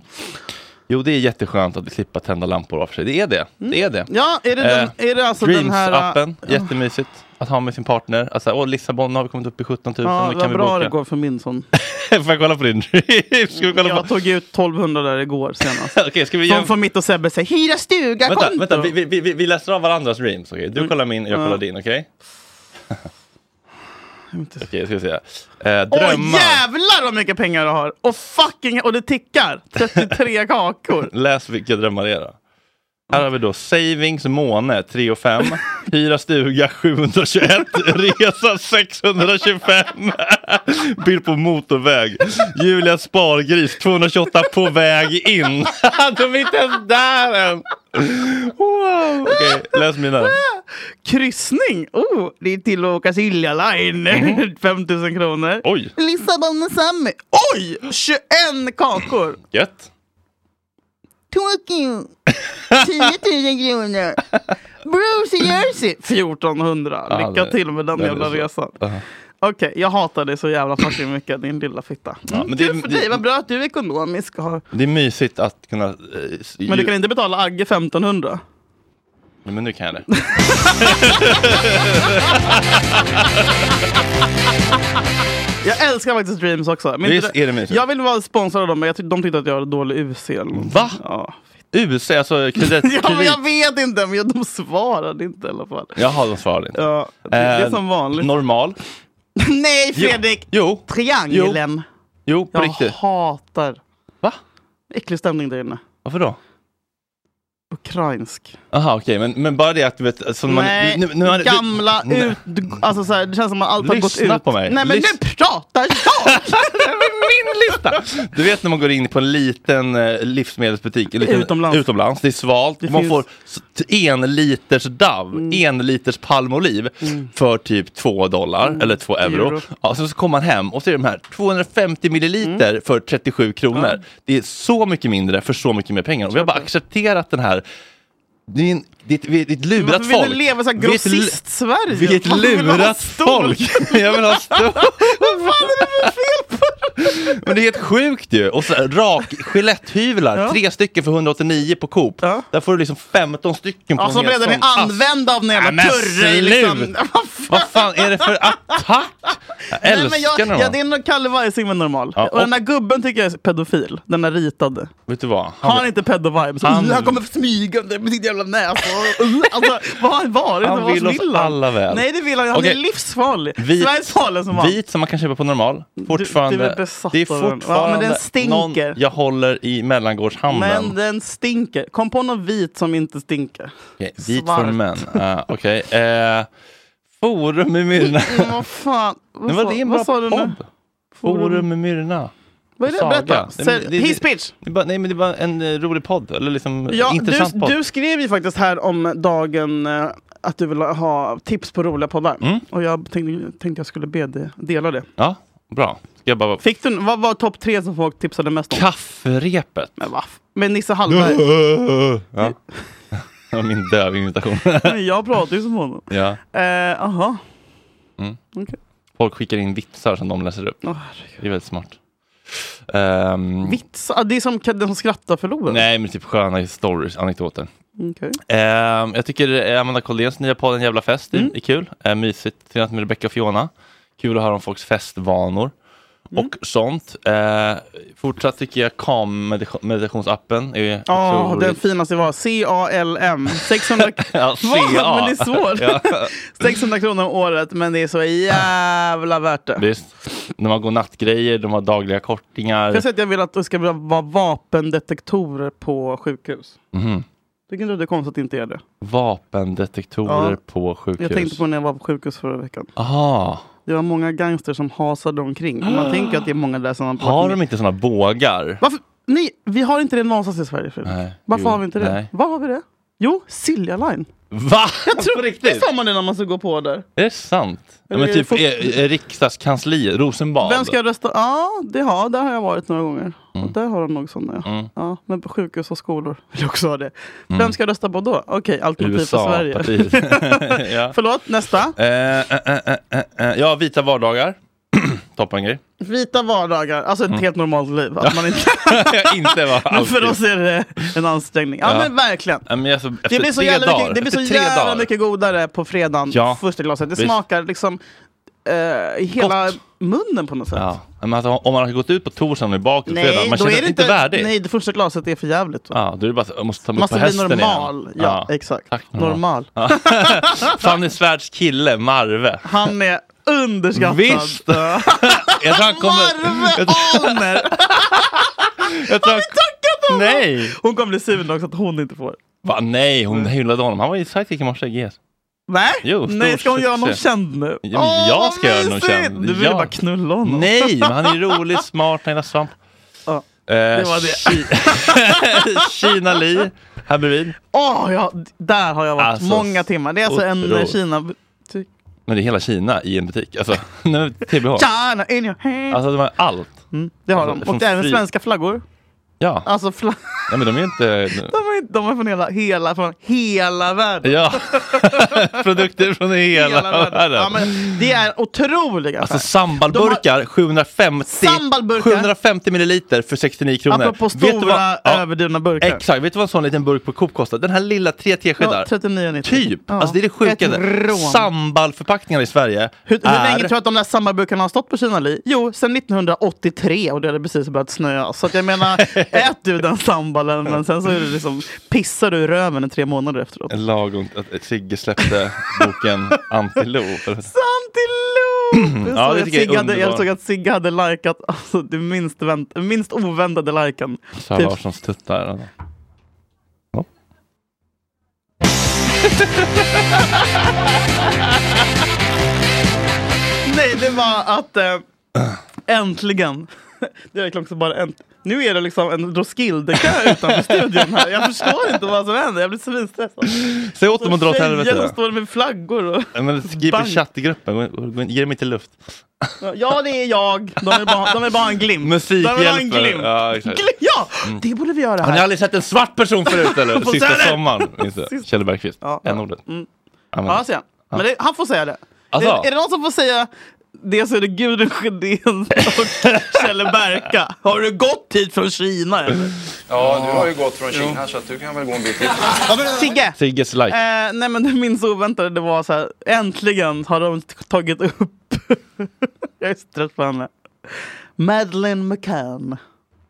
[SPEAKER 4] Jo, det är jätteskönt att slippa tända lampor av sig. Det är det. Det är det.
[SPEAKER 3] Mm. Ja, är det, den,
[SPEAKER 4] Eh,
[SPEAKER 3] är det alltså den här...
[SPEAKER 4] Dreams-appen,
[SPEAKER 3] Ja.
[SPEAKER 4] jättemysigt att ha med sin partner. Alltså, åh, Lissabon, nu har vi kommit upp i 17 000.
[SPEAKER 3] Ja,
[SPEAKER 4] nu kan
[SPEAKER 3] vad
[SPEAKER 4] vi
[SPEAKER 3] bra
[SPEAKER 4] boka.
[SPEAKER 3] det går för min son.
[SPEAKER 4] *laughs* Får jag kolla på din *laughs* Dreams? Ska vi kolla
[SPEAKER 3] Jag
[SPEAKER 4] på...
[SPEAKER 3] tog ut 1200 där igår
[SPEAKER 4] *laughs*
[SPEAKER 3] senast.
[SPEAKER 4] Okej, ska vi
[SPEAKER 3] Som
[SPEAKER 4] jämföra?
[SPEAKER 3] får mitt och Sebbe säga, hyra stuga,
[SPEAKER 4] Vänta,
[SPEAKER 3] konto! Mm.
[SPEAKER 4] vänta vi, vi- vi, vi, vi läser av varandras Dreams. okej? Du kollar min, jag kollar
[SPEAKER 3] Ja.
[SPEAKER 4] din. Okej, Okej, ska vi se. Eh,
[SPEAKER 3] Åh
[SPEAKER 4] drömmar.
[SPEAKER 3] jävlar vad mycket pengar du har! Och fucking, och det
[SPEAKER 4] *laughs*
[SPEAKER 3] tickar! 33 kakor! *laughs*
[SPEAKER 4] Läs vilka drömmar det är då. Här har vi då Savings måne 3 och 5. Hyra stuga 721, resa 625. Bild på motorväg. Julia spargris 228 på väg in. *laughs* De är inte ens där än. Wow. Okej, läs mina.
[SPEAKER 3] Kryssning! Oh, det är till att åka Silja Line. *laughs* 5000 kronor.
[SPEAKER 4] Mhm. Oj.
[SPEAKER 3] Lissabon Sami. Oj! 21 kakor.
[SPEAKER 4] Gött.
[SPEAKER 3] Tokyo. 10 000 kronor. Bruce i Jersey. 1400.
[SPEAKER 4] Ja,
[SPEAKER 3] Lycka
[SPEAKER 4] det-
[SPEAKER 3] till med den
[SPEAKER 4] det är
[SPEAKER 3] jävla
[SPEAKER 4] så.
[SPEAKER 3] resan.
[SPEAKER 4] Aha.
[SPEAKER 3] Okej, jag hatar dig så jävla fucking mycket din lilla fitta.
[SPEAKER 4] Ja,
[SPEAKER 3] Mm,
[SPEAKER 4] men det-
[SPEAKER 3] kul för
[SPEAKER 4] det-
[SPEAKER 3] dig, vad bra att du är ekonomisk. och har-
[SPEAKER 4] Det är mysigt att kunna... eh,
[SPEAKER 3] Men du
[SPEAKER 4] ju-
[SPEAKER 3] kan inte betala Agge 1500?
[SPEAKER 4] Nej, Men nu kan jag det.
[SPEAKER 3] Jag älskar faktiskt Dreams också. Men
[SPEAKER 4] Visst
[SPEAKER 3] inte-
[SPEAKER 4] är det mysigt?
[SPEAKER 3] jag vill vara sponsrad av dem, men jag ty- de tyckte att jag hade dålig UC. eller någonting.
[SPEAKER 4] Va?
[SPEAKER 3] Ja. *laughs*
[SPEAKER 4] UC, alltså kredit...
[SPEAKER 3] Ja, men
[SPEAKER 4] kredit.
[SPEAKER 3] jag vet inte, men jag- de svarade inte i alla fall.
[SPEAKER 4] Jaha, de svarade inte.
[SPEAKER 3] Ja, det är som vanligt.
[SPEAKER 4] Normal.
[SPEAKER 3] *laughs* Nej Fredrik!
[SPEAKER 4] Eh, Jo.
[SPEAKER 3] Triangeln.
[SPEAKER 4] Jo, på
[SPEAKER 3] jag
[SPEAKER 4] riktigt.
[SPEAKER 3] hatar.
[SPEAKER 4] Va?
[SPEAKER 3] Äcklig stämning där inne.
[SPEAKER 4] Varför då?
[SPEAKER 3] Ukrainsk.
[SPEAKER 4] Aha, okej, men, men bara det att du vet... Som man,
[SPEAKER 3] Nej,
[SPEAKER 4] nu- nu- nu-
[SPEAKER 3] gamla
[SPEAKER 4] nu-
[SPEAKER 3] ut... Alltså så här, det känns som att allt har gått ut.
[SPEAKER 4] Lyssna på mig.
[SPEAKER 3] Nej men
[SPEAKER 4] Lys-
[SPEAKER 3] nu
[SPEAKER 4] *laughs*
[SPEAKER 3] pratar jag!
[SPEAKER 4] Min lista! Du vet när man går in på en liten eh, livsmedelsbutik en liten,
[SPEAKER 3] Utomlands.
[SPEAKER 4] utomlands, det är svalt,
[SPEAKER 3] Det
[SPEAKER 4] man
[SPEAKER 3] finns-
[SPEAKER 4] får s- t- en liters Dove,
[SPEAKER 3] Mm.
[SPEAKER 4] en liters palmoliv för typ två dollar eller två euro.
[SPEAKER 3] Mm. Euro.
[SPEAKER 4] Ja, sen så kommer man hem och så är de här 250 milliliter
[SPEAKER 3] Mm.
[SPEAKER 4] för 37 kronor. Det är så mycket mindre för så mycket mer pengar och vi har bara accepterat den här det är, en, det, är ett, vi är ett lurat
[SPEAKER 3] Varför vill
[SPEAKER 4] folk.
[SPEAKER 3] du leva så här
[SPEAKER 4] Vi är ett lu-
[SPEAKER 3] grossist-Sverige?
[SPEAKER 4] Vi är ett
[SPEAKER 3] Man vill ha
[SPEAKER 4] lurat
[SPEAKER 3] stol.
[SPEAKER 4] folk. *laughs* Jag vill ha stol.
[SPEAKER 3] Vad fan är det för fel på
[SPEAKER 4] Men det är helt sjukt ju! Och så här, rak Gillette-hyvlar,
[SPEAKER 3] Ja.
[SPEAKER 4] tre stycken för 189 på Coop. Där får du liksom 15 stycken på
[SPEAKER 3] Ja, som
[SPEAKER 4] en hel
[SPEAKER 3] redan är
[SPEAKER 4] sån ask.
[SPEAKER 3] använda av den
[SPEAKER 4] Nej,
[SPEAKER 3] jävla
[SPEAKER 4] men
[SPEAKER 3] kurre. Liksom.
[SPEAKER 4] sluta! Vad fan är det för attack? Jag älskar
[SPEAKER 3] men jag,
[SPEAKER 4] dem.
[SPEAKER 3] ja, det är nog Kalle Weising med normal.
[SPEAKER 4] Ja,
[SPEAKER 3] och, den där gubben tycker jag är pedofil. Den där ritade.
[SPEAKER 4] Vet du vad?
[SPEAKER 3] Har han inte pedo-vibes? Han,
[SPEAKER 4] Han-
[SPEAKER 3] han kommer smygande med sitt jävla näsa. *laughs* alltså, vad har han varit?
[SPEAKER 4] Han
[SPEAKER 3] Vad
[SPEAKER 4] vill oss
[SPEAKER 3] han?
[SPEAKER 4] alla väl.
[SPEAKER 3] Nej det vill han Han
[SPEAKER 4] Okej.
[SPEAKER 3] är livsfarlig.
[SPEAKER 4] Vit-
[SPEAKER 3] Sveriges farliga som han.
[SPEAKER 4] Vit som man kan köpa på normal. Fortfarande.
[SPEAKER 3] du är besatt
[SPEAKER 4] det är
[SPEAKER 3] av den.
[SPEAKER 4] fortfarande
[SPEAKER 3] Ja, men den stinker.
[SPEAKER 4] någon jag håller i mellangårdshamnen.
[SPEAKER 3] Men den stinker. Kom på någon vit som inte stinker.
[SPEAKER 4] Okej, vit
[SPEAKER 3] Svart.
[SPEAKER 4] för män. Uh, Okej. Eh, forum med Myrna.
[SPEAKER 3] Men Mm, vad fan. *laughs* Vad,
[SPEAKER 4] Men
[SPEAKER 3] sa-
[SPEAKER 4] var det en
[SPEAKER 3] vad
[SPEAKER 4] bra
[SPEAKER 3] sa du nu?
[SPEAKER 4] podd? Forum med Myrna.
[SPEAKER 3] Vad är det?
[SPEAKER 4] Saga.
[SPEAKER 3] Berätta.
[SPEAKER 4] Nej, men
[SPEAKER 3] Säg-
[SPEAKER 4] det- det-
[SPEAKER 3] His pitch.
[SPEAKER 4] Det är bara, nej men det var en eh, rolig podd, eller liksom
[SPEAKER 3] Ja,
[SPEAKER 4] intressant
[SPEAKER 3] du,
[SPEAKER 4] podd.
[SPEAKER 3] du skrev ju faktiskt här om dagen eh, att du ville ha tips på roliga poddar. Och jag tänkte, tänkte jag skulle be dig dela det.
[SPEAKER 4] Ja, bra. Ska Jag bara...
[SPEAKER 3] Fick du, vad var topp tre som folk tipsade mest om?
[SPEAKER 4] Kafferepet.
[SPEAKER 3] Men vad? Med Nisse
[SPEAKER 4] *laughs*
[SPEAKER 3] Hallberg.
[SPEAKER 4] Ja. *laughs* Det var Min döv imitation.
[SPEAKER 3] jag pratar ju som honom.
[SPEAKER 4] *laughs* ja.
[SPEAKER 3] Eh, Aha.
[SPEAKER 4] mm.
[SPEAKER 3] Okej.
[SPEAKER 4] Folk skickar in vitsar som de läser upp.
[SPEAKER 3] Åh,
[SPEAKER 4] det är väldigt smart. Ehm,
[SPEAKER 3] Vits. Ah, det är som den som skrattar förlorar.
[SPEAKER 4] nej, men typ sköna stories, anekdoter.
[SPEAKER 3] Okej.
[SPEAKER 4] Ehm, jag tycker eh, Amanda Colléns nya podd En jävla fest
[SPEAKER 3] Mm.
[SPEAKER 4] är- är kul. Uh, mysigt. Tillsammans med Rebecca och Fiona. Kul att höra om folks festvanor
[SPEAKER 3] Mm.
[SPEAKER 4] och sånt. Ehm, fortsatt tycker jag Calm medita- meditationsappen är
[SPEAKER 3] Ja,
[SPEAKER 4] otroligt-
[SPEAKER 3] Ah, den finaste var C-A-L-M. 600,
[SPEAKER 4] *laughs*
[SPEAKER 3] *laughs*
[SPEAKER 4] Ja,
[SPEAKER 3] Vad?
[SPEAKER 4] CA.
[SPEAKER 3] Men det är svårt.
[SPEAKER 4] Ja.
[SPEAKER 3] *laughs* 600 kronor om året, men det är så jävla värt det.
[SPEAKER 4] Visst. De har godnattgrejer, de har dagliga kortingar.
[SPEAKER 3] Kan jag säga att jag vill att det ska vara vapendetektorer på sjukhus?
[SPEAKER 4] Mhm.
[SPEAKER 3] Tycker inte du det är konstigt att det inte är det?
[SPEAKER 4] Vapendetektorer
[SPEAKER 3] Ja.
[SPEAKER 4] på sjukhus.
[SPEAKER 3] Jag tänkte på när jag var på sjukhus förra veckan.
[SPEAKER 4] Aha.
[SPEAKER 3] Det var många gangsters som hasade omkring. Och man tänker att det är många där som...
[SPEAKER 4] Ah. Har de inte såna bågar?
[SPEAKER 3] Varför? Nej, vi har inte det någonstans i Sverige. Fredrik.
[SPEAKER 4] Nej.
[SPEAKER 3] Varför
[SPEAKER 4] Jo.
[SPEAKER 3] har vi inte det?
[SPEAKER 4] Nej.
[SPEAKER 3] Var har vi det? Jo, Silja Line.
[SPEAKER 4] Va?
[SPEAKER 3] Jag tror,
[SPEAKER 4] Alltså, På
[SPEAKER 3] det
[SPEAKER 4] riktigt?
[SPEAKER 3] sa man det när man skulle gå på där.
[SPEAKER 4] Är det sant? Ja,
[SPEAKER 3] Eller
[SPEAKER 4] men
[SPEAKER 3] är det
[SPEAKER 4] typ
[SPEAKER 3] fort-
[SPEAKER 4] eh, eh, riksdagskansliet, Rosenbad.
[SPEAKER 3] Vem ska jag rösta? Ja, det har, där har jag varit några gånger. Och där har de nog sådana. Ja.
[SPEAKER 4] Mm.
[SPEAKER 3] Ja, men på sjukhus och skolor *laughs* vill jag också ha det. Vem ska jag rösta på då? Okej, alternativ för
[SPEAKER 4] USA,
[SPEAKER 3] Sverige.
[SPEAKER 4] partiet. *laughs* ja.
[SPEAKER 3] *laughs* Förlåt, nästa.
[SPEAKER 4] Eh, eh, eh, eh, eh. ja, vita vardagar. *clears throat* Toppen grej. *laughs*
[SPEAKER 3] Vita vardagar, alltså ett
[SPEAKER 4] Mm.
[SPEAKER 3] helt normalt liv. Att man inte... *laughs*
[SPEAKER 4] inte va?
[SPEAKER 3] men för
[SPEAKER 4] alltid.
[SPEAKER 3] oss är det en ansträngning. Ja,
[SPEAKER 4] Ja.
[SPEAKER 3] men verkligen.
[SPEAKER 4] Ja, men alltså, efter
[SPEAKER 3] Det blir så
[SPEAKER 4] tre
[SPEAKER 3] jävla,
[SPEAKER 4] dagar,
[SPEAKER 3] mycket, det blir så
[SPEAKER 4] efter tre
[SPEAKER 3] jävla
[SPEAKER 4] dagar.
[SPEAKER 3] mycket godare på fredagen,
[SPEAKER 4] Ja.
[SPEAKER 3] första glaset. Det
[SPEAKER 4] Visst.
[SPEAKER 3] smakar liksom eh, hela munnen på något sätt.
[SPEAKER 4] Ja. Men alltså, om man har gått ut på torsdagen och är bakis på fredagen, man känner sig inte värdig.
[SPEAKER 3] Nej, det första glaset är för jävligt.
[SPEAKER 4] Ja, då är det bara att jag måste ta mig upp på
[SPEAKER 3] Måste bli
[SPEAKER 4] hästen
[SPEAKER 3] normal.
[SPEAKER 4] igen.
[SPEAKER 3] Ja, exakt.
[SPEAKER 4] Tack,
[SPEAKER 3] normal.
[SPEAKER 4] Ja.
[SPEAKER 3] *laughs*
[SPEAKER 4] Fanny Svärds kille, Marve.
[SPEAKER 3] Han är underskattad.
[SPEAKER 4] Visst! Jag tror *laughs* han kommer... *laughs* Jag tror,
[SPEAKER 3] Alner!
[SPEAKER 4] jag tror han, Nej!
[SPEAKER 3] Hon kommer bli sur också att hon inte får.
[SPEAKER 4] Va, nej, hon hyllade honom. Han var ju sidekick i morse i GS.
[SPEAKER 3] Nej,
[SPEAKER 4] Jo,
[SPEAKER 3] Nej
[SPEAKER 4] stor
[SPEAKER 3] ska hon göra någon
[SPEAKER 4] succé.
[SPEAKER 3] känd nu?
[SPEAKER 4] Ja, men
[SPEAKER 3] Åh,
[SPEAKER 4] jag
[SPEAKER 3] vad
[SPEAKER 4] ska göra någon
[SPEAKER 3] mysigt!
[SPEAKER 4] känd.
[SPEAKER 3] Du vill
[SPEAKER 4] Ja. Mm.
[SPEAKER 3] bara knulla *laughs* honom.
[SPEAKER 4] Nej, men han är rolig, smart, Naila Svamp.
[SPEAKER 3] Ja,
[SPEAKER 4] Eh,
[SPEAKER 3] det var det.
[SPEAKER 4] *laughs* Kina Li här bredvid.
[SPEAKER 3] Åh, ja, där har jag varit
[SPEAKER 4] Alltså,
[SPEAKER 3] många timmar. Det är alltså en
[SPEAKER 4] otroligt.
[SPEAKER 3] eh, Kina...
[SPEAKER 4] Men det är hela Kina i en butik. Alltså, *laughs* nej, men TBH.
[SPEAKER 3] China in your hand.
[SPEAKER 4] Alltså de har allt.
[SPEAKER 3] det har
[SPEAKER 4] alltså,
[SPEAKER 3] de.
[SPEAKER 4] från
[SPEAKER 3] Och det är även
[SPEAKER 4] fri-
[SPEAKER 3] svenska flaggor.
[SPEAKER 4] Ja,
[SPEAKER 3] Alltså, fla- *laughs*
[SPEAKER 4] nej, men de är inte...
[SPEAKER 3] de, är, inte- de är från hela, hela, från hela världen.
[SPEAKER 4] Ja, *laughs* produkter från hela, världen.
[SPEAKER 3] Ja, men det är en otrolig affär.
[SPEAKER 4] Alltså sambalburkar, 750,
[SPEAKER 3] Sambalburkar.
[SPEAKER 4] 750 milliliter för 69 kronor.
[SPEAKER 3] Apropå
[SPEAKER 4] Vet du vad-
[SPEAKER 3] stora,
[SPEAKER 4] ja,
[SPEAKER 3] överdrivna burkar.
[SPEAKER 4] Exakt, vet du vad en sån liten burk på Coop kostar? Den här lilla tre teskedar.
[SPEAKER 3] Ja, 39,90.
[SPEAKER 4] Typ!
[SPEAKER 3] Ja.
[SPEAKER 4] Alltså det är det
[SPEAKER 3] Ett
[SPEAKER 4] sjukaste.
[SPEAKER 3] rån.
[SPEAKER 4] Sambalförpackningar i Sverige
[SPEAKER 3] Hur, hur
[SPEAKER 4] är...
[SPEAKER 3] länge tror du att de där sambalburkarna har stått på Kina Li? Jo, sedan 1983 och det hade precis börjat snöa. Så att jag
[SPEAKER 4] *laughs*
[SPEAKER 3] menar, ät du den sambalen men sen så är det liksom, pissar du i röven i tre månader efteråt.
[SPEAKER 4] En lagom att Sigge *laughs* släppte boken Antilop. *clears throat*
[SPEAKER 3] Antilop! Jag
[SPEAKER 4] Ja,
[SPEAKER 3] såg
[SPEAKER 4] det
[SPEAKER 3] att
[SPEAKER 4] tycker jag
[SPEAKER 3] Sigge
[SPEAKER 4] är
[SPEAKER 3] hade- Jag
[SPEAKER 4] underbart.
[SPEAKER 3] såg att Sigge hade likat alltså, det minst, vänt, minst oväntade liken.
[SPEAKER 4] Sara
[SPEAKER 3] Typ,
[SPEAKER 4] Larssons tuttar.
[SPEAKER 3] nej, det var att eh, äntligen. *laughs* Det är verkligen också bara änt- nu är det liksom en Roskilde-kö utanför studion här. Jag förstår inte vad som händer. Jag blir svinstressad.
[SPEAKER 4] Säg åt dem att dra åt
[SPEAKER 3] Tjejer
[SPEAKER 4] helvete.
[SPEAKER 3] står med flaggor. Och...
[SPEAKER 4] Nej, Men skriv i
[SPEAKER 3] Bank.
[SPEAKER 4] chattgruppen, Gå in- gå in- ge dem inte luft.
[SPEAKER 3] Ja, det är jag. De vill bara, de vill bara ha en glimt. De vill ha en
[SPEAKER 4] Musikhjälpen.
[SPEAKER 3] glimt.
[SPEAKER 4] Ja, exakt.
[SPEAKER 3] Glim- Ja,
[SPEAKER 4] Mm.
[SPEAKER 3] det borde vi göra
[SPEAKER 4] Har ni
[SPEAKER 3] här.
[SPEAKER 4] aldrig sett en svart person förut *laughs* eller?
[SPEAKER 3] På
[SPEAKER 4] Sista
[SPEAKER 3] Söder!
[SPEAKER 4] sommaren. Minns du? Kjell Bergqvist.
[SPEAKER 3] Ja, ja.
[SPEAKER 4] N-ordet.
[SPEAKER 3] Mm.
[SPEAKER 4] Använd.
[SPEAKER 3] Ja, han säger. Men det, han får säga det.
[SPEAKER 4] Alltså.
[SPEAKER 3] Är, är det någon som får säga det så är det Gudrun Sjödén och *laughs* Kjell Berka. Har du gått hit från Kina eller?
[SPEAKER 20] Ja, du har ju gått från Kina så att du kan väl gå en bit till.
[SPEAKER 3] Sigge!
[SPEAKER 4] Sigges like.
[SPEAKER 3] Eh, nej men det minst oväntade det var så här, äntligen har de t- tagit upp, *laughs* jag är så trött på henne, Madeleine McCann,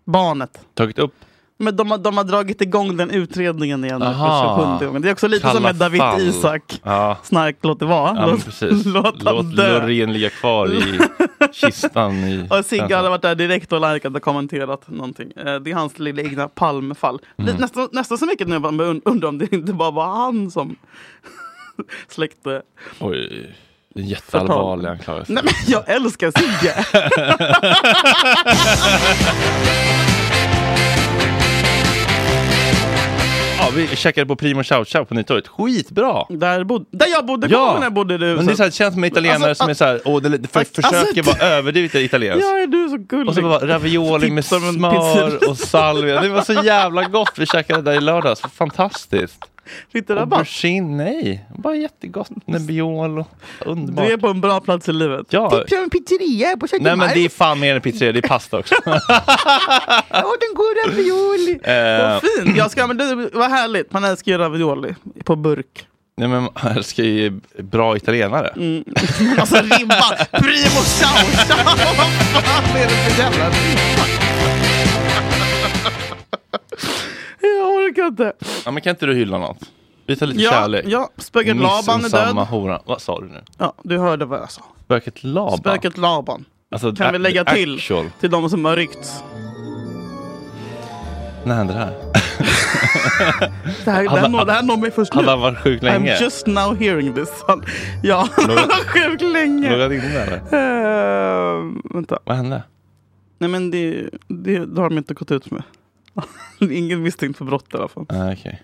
[SPEAKER 3] barnet.
[SPEAKER 4] Tagit upp?
[SPEAKER 3] Men de, har- de har dragit igång den utredningen igen nu
[SPEAKER 4] Aha.
[SPEAKER 3] för 27 gången. Det är också lite som
[SPEAKER 4] Kalla
[SPEAKER 3] med David
[SPEAKER 4] fall.
[SPEAKER 3] Isak.
[SPEAKER 4] Ja.
[SPEAKER 3] Snark, låt det vara.
[SPEAKER 4] Ja, men
[SPEAKER 3] Låt-
[SPEAKER 4] precis.
[SPEAKER 3] låt han
[SPEAKER 4] Låt
[SPEAKER 3] dö.
[SPEAKER 4] Loreen ligga kvar
[SPEAKER 3] *laughs*
[SPEAKER 4] i kistan. I
[SPEAKER 3] Och Sigge hade varit där direkt och likat och kommenterat någonting. Eh, Det är hans lilla egna Palmefall.
[SPEAKER 4] Mm.
[SPEAKER 3] Lite- Nästan, nästan så mycket nu man und- undrar om det inte bara var han som *laughs* släckte.
[SPEAKER 4] Oj, en jätteallvarlig anklagelse.
[SPEAKER 3] Nej men jag älskar Sigge!
[SPEAKER 4] Ja, vi checkade på Primo Ciao Ciao på Nytorget. Skitbra!
[SPEAKER 3] Där, bod- där jag bodde, kommer du när jag bodde du?
[SPEAKER 4] Men det, är så här, det känns som en italienare
[SPEAKER 3] Alltså,
[SPEAKER 4] som är så här, åh, det, det, för,
[SPEAKER 3] alltså,
[SPEAKER 4] försöker
[SPEAKER 3] det-
[SPEAKER 4] vara överdrivet italiensk.
[SPEAKER 3] Ja, är du så gullig.
[SPEAKER 4] Och så bara ravioli med
[SPEAKER 3] Tipsar om en
[SPEAKER 4] smör
[SPEAKER 3] pizzeria.
[SPEAKER 4] och salvia. Det var så jävla gott. Vi käkade där i lördags. Fantastiskt.
[SPEAKER 3] Fick du
[SPEAKER 4] Och
[SPEAKER 3] rabatt?
[SPEAKER 4] Aubergine, nej. Bara jättegott. Nebbiolo. Underbart.
[SPEAKER 3] Du är på en bra plats i livet.
[SPEAKER 4] Ja.
[SPEAKER 3] Tipsar om en pizzeria på
[SPEAKER 4] Nej men det är
[SPEAKER 3] Kökmark.
[SPEAKER 4] fan mer än pizzeria, det är pasta också.
[SPEAKER 3] Jag åt en god ravioli.
[SPEAKER 4] *laughs* Eh.
[SPEAKER 3] Vad fint! Jag ska, men du, vad härligt, man älskar ju ravioli på burk.
[SPEAKER 4] Nej men man älskar ju bra italienare.
[SPEAKER 3] Mm. alltså ribban, primo ciao
[SPEAKER 5] *laughs*
[SPEAKER 3] ciao! Vad fan är det för jävla ribba? Jag orkar inte.
[SPEAKER 4] Ja, men kan inte du hylla något? Visa lite
[SPEAKER 3] Ja,
[SPEAKER 4] kärlek.
[SPEAKER 3] ja, spöket Laban är
[SPEAKER 4] Missunnsamma
[SPEAKER 3] död.
[SPEAKER 4] Hora. Vad sa du nu?
[SPEAKER 3] Ja, du hörde vad jag sa.
[SPEAKER 4] Spöket Laban?
[SPEAKER 3] Spöket Laban.
[SPEAKER 4] Alltså,
[SPEAKER 3] kan vi
[SPEAKER 4] a-
[SPEAKER 3] lägga
[SPEAKER 4] the
[SPEAKER 3] till
[SPEAKER 4] actual.
[SPEAKER 3] till de som har ryckts?
[SPEAKER 4] När hände det här?
[SPEAKER 3] Det här, det
[SPEAKER 4] Hade-
[SPEAKER 3] här, når, det här når mig först nu.
[SPEAKER 4] hade han varit sjuk länge?
[SPEAKER 3] *laughs* I'm just now hearing this. Han, ja, *laughs* han
[SPEAKER 4] Låg-
[SPEAKER 3] var sjuk länge.
[SPEAKER 4] Låg han inne eller?
[SPEAKER 3] Ehm, vänta.
[SPEAKER 4] Vad hände?
[SPEAKER 3] Nej men det, det, det har de inte gått ut med. *laughs* Ingen misstänkt för brott i alla fall.
[SPEAKER 4] Ah, okej.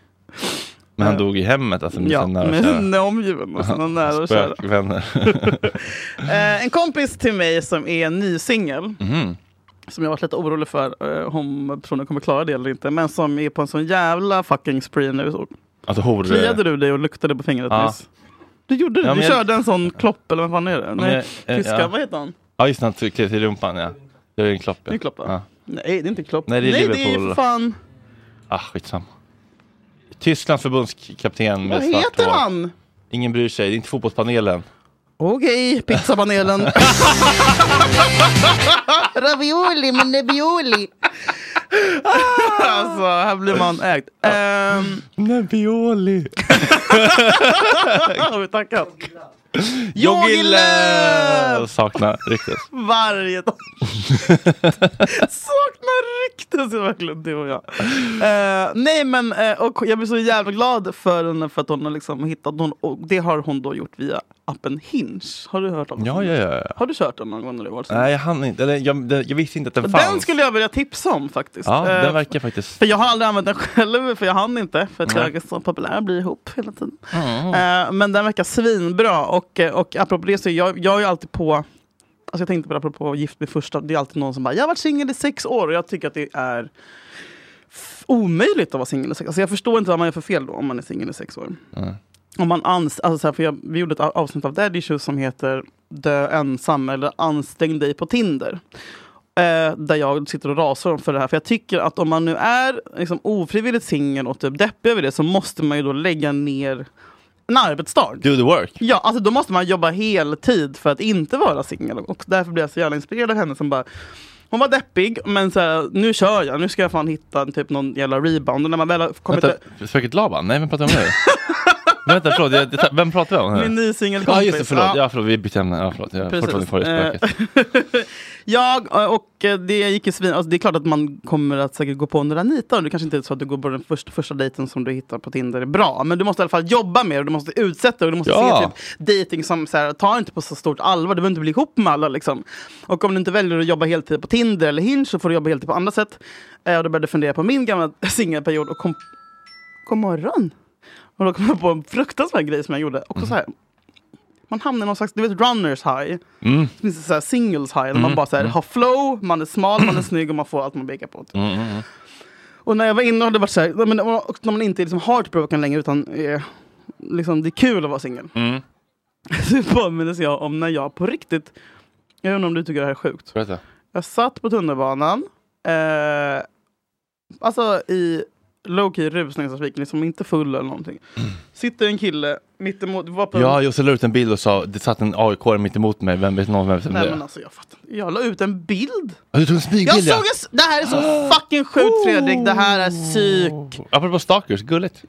[SPEAKER 4] Men han
[SPEAKER 3] Eh,
[SPEAKER 4] dog i hemmet alltså? Med
[SPEAKER 3] ja,
[SPEAKER 4] sina nära och
[SPEAKER 3] med
[SPEAKER 4] kära.
[SPEAKER 3] sina omgivna och sina alltså, nära och kära.
[SPEAKER 4] Spökvänner. *laughs*
[SPEAKER 3] Eh, en kompis till mig som är ny singel,
[SPEAKER 4] Mhm.
[SPEAKER 3] som jag varit lite orolig för eh, om personen kommer klara det eller inte, men som är på en sån jävla fucking spree nu. Så.
[SPEAKER 4] Alltså hor...
[SPEAKER 3] Kliade du dig och luktade på fingret
[SPEAKER 4] Ja.
[SPEAKER 3] nyss? Du gjorde det,
[SPEAKER 4] Ja,
[SPEAKER 3] du
[SPEAKER 4] men jag-
[SPEAKER 3] körde en sån klopp eller vad fan är det?
[SPEAKER 4] men
[SPEAKER 3] Nej,
[SPEAKER 4] jag- eh,
[SPEAKER 3] tyska,
[SPEAKER 4] ja.
[SPEAKER 3] vad heter han?
[SPEAKER 4] Ja just det, han kliade till rumpan ja. Det är ju en klopp.
[SPEAKER 3] Det är klopp, va?
[SPEAKER 4] ja.
[SPEAKER 3] Nej det är inte klopp.
[SPEAKER 4] Nej, det är
[SPEAKER 3] det är ju
[SPEAKER 4] Liverpool.
[SPEAKER 3] för fan,
[SPEAKER 4] Ah skitsamma. Tysklands förbundskapten med
[SPEAKER 3] vad
[SPEAKER 4] svart
[SPEAKER 3] heter
[SPEAKER 4] hår.
[SPEAKER 3] han?
[SPEAKER 4] Ingen bryr sig, det är inte fotbollspanelen.
[SPEAKER 3] Okej, pizzapanelen. *laughs* Ravioli med nebbioli. *laughs* alltså, här blir man ägd. *laughs* Um...
[SPEAKER 4] Nebbioli.
[SPEAKER 3] Har vi tackat?
[SPEAKER 4] Jogille! Saknar ryktes.
[SPEAKER 3] Varje
[SPEAKER 4] *laughs*
[SPEAKER 3] dag. Saknar ryktes verkligen du och jag. Eh, nej men eh, och jag blir så jävla glad för henne för att hon har liksom hittat hon, och det har hon då gjort via appen Hinge. Har du hört om den?
[SPEAKER 4] Ja, ja, ja. ja.
[SPEAKER 3] Har du kört den någon gång när du var
[SPEAKER 4] Nej, jag hann inte. Eller, jag, det- jag visste inte att den fanns.
[SPEAKER 3] Den skulle jag vilja tipsa om faktiskt.
[SPEAKER 4] Ja,
[SPEAKER 3] Eh,
[SPEAKER 4] den verkar faktiskt...
[SPEAKER 3] För jag har aldrig använt den själv, för jag hann inte. För att
[SPEAKER 4] Nej.
[SPEAKER 3] jag är så populär och blir ihop hela tiden. Eh, men den verkar svinbra. Och, eh, och apropå det så är jag, jag är ju alltid på... Alltså jag tänkte på det apropå Gift med första. Det är alltid någon som bara “Jag har varit singel i sex år” och jag tycker att det är f- omöjligt att vara singel i sex år. Alltså jag förstår inte vad man gör för fel då om man är singel i sex år.
[SPEAKER 4] Mm.
[SPEAKER 3] Om man ans alltså så här, för jag, vi gjorde ett a- avsnitt av Daddy Issues som heter Dö ensam eller ansträng dig på Tinder. Eh, där jag sitter och rasar om för det här. För jag tycker att om man nu är liksom, ofrivilligt singel och typ deppig över det så måste man ju då lägga ner en arbetsdag.
[SPEAKER 4] Do the work.
[SPEAKER 3] Ja, alltså då måste man jobba heltid för att inte vara singel. Och därför blev jag så jävla inspirerad av henne som bara hon var deppig, men så här, nu kör jag. Nu ska jag fan hitta typ någon jävla rebound. Och när man väl har kommit...
[SPEAKER 4] Vänta, spöket Laban? Nej, vem pratar vi om nu? Men Vänta, förlåt. Jag, jag, vem pratar vi om? nu?
[SPEAKER 3] Min ny singelkompis.
[SPEAKER 4] Ja, just det. Förlåt.
[SPEAKER 3] Ja.
[SPEAKER 4] Ja. förlåt. Vi bytte ämne. Ja, förlåt. Jag är
[SPEAKER 3] Precis. Eh.
[SPEAKER 4] fortfarande kvar i spöket.
[SPEAKER 3] Jag eh, och eh, det gick ju svin... Alltså det är klart att man kommer att säkert gå på en Ranita. Och det kanske inte är så att du går på den första, första dejten som du hittar på Tinder är bra. Men du måste i alla fall jobba mer och du måste utsätta dig. Och du måste se
[SPEAKER 4] Ja.
[SPEAKER 3] typ dating som så här, ta inte på så stort allvar. Du behöver inte bli ihop med alla liksom. Och om du inte väljer att jobba heltid på Tinder eller Hinge så får du jobba heltid på andra sätt. Eh, Och då började jag fundera på min gamla *laughs* singelperiod och kom... God morgon! Och då kom jag på en fruktansvärd grej som jag gjorde. Också så här, man hamnar i någon slags, du vet runners high.
[SPEAKER 4] Mm.
[SPEAKER 3] Det finns så här singles high, där man
[SPEAKER 4] Mm,
[SPEAKER 3] bara så här,
[SPEAKER 4] mm.
[SPEAKER 3] har flow, man är smal, man är snygg och man får allt man pekar på.
[SPEAKER 4] Mm, mm, mm.
[SPEAKER 3] Och när jag var inne och hade varit så här, nej, men, och när man inte är liksom heartbroken längre utan är, liksom, det är kul att vara singel. *laughs*
[SPEAKER 4] Mm.
[SPEAKER 3] Så påminnes jag om när jag på riktigt, jag undrar om du tycker det här är sjukt.
[SPEAKER 4] Berätta.
[SPEAKER 3] Jag satt på tunnelbanan, eh, alltså i low-key rusningstrafik, liksom inte full eller någonting. Sitter en kille mittemot, det var på en-
[SPEAKER 4] Mm. Ja, just jag la ut en bild och sa det satt en AIK mitt emot mig. Vem vet någon vem som
[SPEAKER 3] Nej
[SPEAKER 4] det
[SPEAKER 3] men
[SPEAKER 4] är?
[SPEAKER 3] alltså jag fattar inte. Jag la ut en bild.
[SPEAKER 4] Ja, Du tog en
[SPEAKER 3] Jag
[SPEAKER 4] smygbild
[SPEAKER 3] såg en, s- det här är så fucking sjukt Fredrik, det här är psyk.
[SPEAKER 4] Apropå stalkers, gulligt.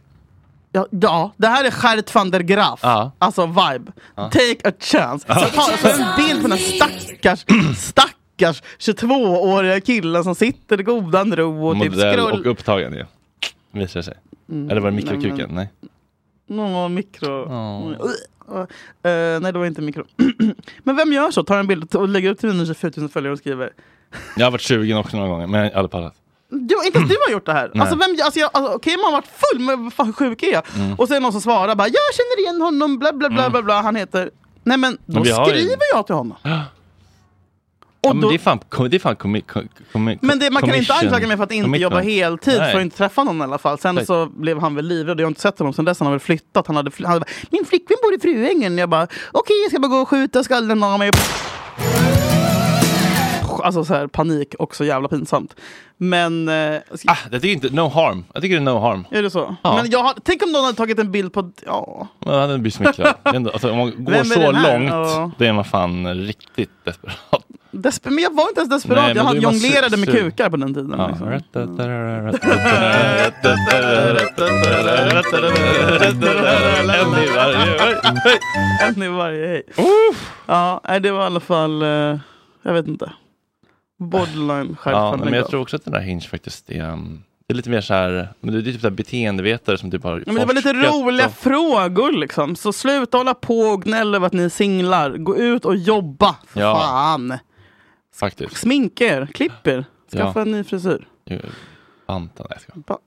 [SPEAKER 3] Ja, ja det här är Gert van der Graaf.
[SPEAKER 4] Ja.
[SPEAKER 3] Alltså vibe.
[SPEAKER 4] Ja.
[SPEAKER 3] Take a chance.
[SPEAKER 4] Ja.
[SPEAKER 3] Så ta så en bild på den här stackars, stackars 22-åriga killen som sitter i godan ro och typ
[SPEAKER 4] Modell och
[SPEAKER 3] scroll...
[SPEAKER 4] upptagen ju. Visar det sig.
[SPEAKER 3] Mm,
[SPEAKER 4] Eller var det
[SPEAKER 3] nej, men-
[SPEAKER 4] mikrokuken? Nej.
[SPEAKER 3] Nå, mikro... Eh, nej det var inte mikro. *clears throat* Men vem gör så? Tar en bild och lägger upp till mina 24 000 följare och skriver
[SPEAKER 4] Jag har varit 20 också några gånger, men jag har aldrig pallat.
[SPEAKER 3] Du, inte ens du har gjort det här!
[SPEAKER 4] Nej.
[SPEAKER 3] Alltså, vem, alltså, jag, alltså, Okej, man har varit full, men vad fan hur sjuk är jag?
[SPEAKER 4] Mm.
[SPEAKER 3] Och sen är det någon som svarar bara “Jag känner igen honom, bla bla bla,
[SPEAKER 4] Mm.
[SPEAKER 3] bla, bla. han heter...” Nej men, då
[SPEAKER 4] Men vi har ju-
[SPEAKER 3] skriver jag till honom.
[SPEAKER 4] Ja,
[SPEAKER 3] Och
[SPEAKER 4] men
[SPEAKER 3] då-
[SPEAKER 4] det är fan, ko- det är fan komi, ko- komi,
[SPEAKER 3] Men det, man kan inte
[SPEAKER 4] commission-
[SPEAKER 3] anklaga mig för att inte jobba
[SPEAKER 4] commitment.
[SPEAKER 3] heltid,
[SPEAKER 4] Nej.
[SPEAKER 3] för att inte träffa någon i alla fall. Sen
[SPEAKER 4] Nej.
[SPEAKER 3] så blev han väl livrädd, jag har inte sett honom sen dess, han har väl flyttat. Han hade, fly- han hade bara, “Min flickvän bor i Fruängen” jag bara “Okej, jag ska bara gå och skjuta skallen av mig” Alltså så här, panik, också jävla pinsamt. Men... Eh,
[SPEAKER 4] Ah, det är inte no harm. Jag tycker det är no harm.
[SPEAKER 3] Är det så?
[SPEAKER 4] Ja.
[SPEAKER 3] Men jag har, tänk om någon hade tagit en bild på... Ja.
[SPEAKER 4] Man hade blivit smickrad. Det är ändå- alltså, om man
[SPEAKER 3] Vem
[SPEAKER 4] går
[SPEAKER 3] är
[SPEAKER 4] så
[SPEAKER 3] den här?
[SPEAKER 4] långt,
[SPEAKER 3] Ja.
[SPEAKER 4] då är man fan riktigt desperat.
[SPEAKER 3] Desper- men jag var inte ens
[SPEAKER 4] Nej,
[SPEAKER 3] desperat.
[SPEAKER 4] men
[SPEAKER 3] jag
[SPEAKER 4] då
[SPEAKER 3] hade
[SPEAKER 4] är man
[SPEAKER 3] jonglerade
[SPEAKER 4] su-
[SPEAKER 3] med
[SPEAKER 4] su-
[SPEAKER 3] kukar på den tiden. *laughs*
[SPEAKER 4] Ja.
[SPEAKER 3] Liksom.
[SPEAKER 4] En i varje-
[SPEAKER 3] En i varje hej. Ja, nej, det var i alla fall... eh, Jag vet inte. Borderline
[SPEAKER 4] Ja,
[SPEAKER 3] självförhandling.
[SPEAKER 4] men jag tror också att den där Hinge faktiskt är, um, det är lite mer så här, men det är typ så här beteendevetare som typ har
[SPEAKER 3] Ja, men det var lite
[SPEAKER 4] forskat
[SPEAKER 3] roliga
[SPEAKER 4] och-
[SPEAKER 3] frågor liksom. Så sluta hålla på och gnälla över att ni är singlar. Gå ut och jobba. För
[SPEAKER 4] Ja.
[SPEAKER 3] fan.
[SPEAKER 4] Faktiskt.
[SPEAKER 3] Sminka er, klipp er, skaffa
[SPEAKER 4] Ja.
[SPEAKER 3] en ny frisyr.
[SPEAKER 4] Ju- Banta, nej jag
[SPEAKER 3] Ba-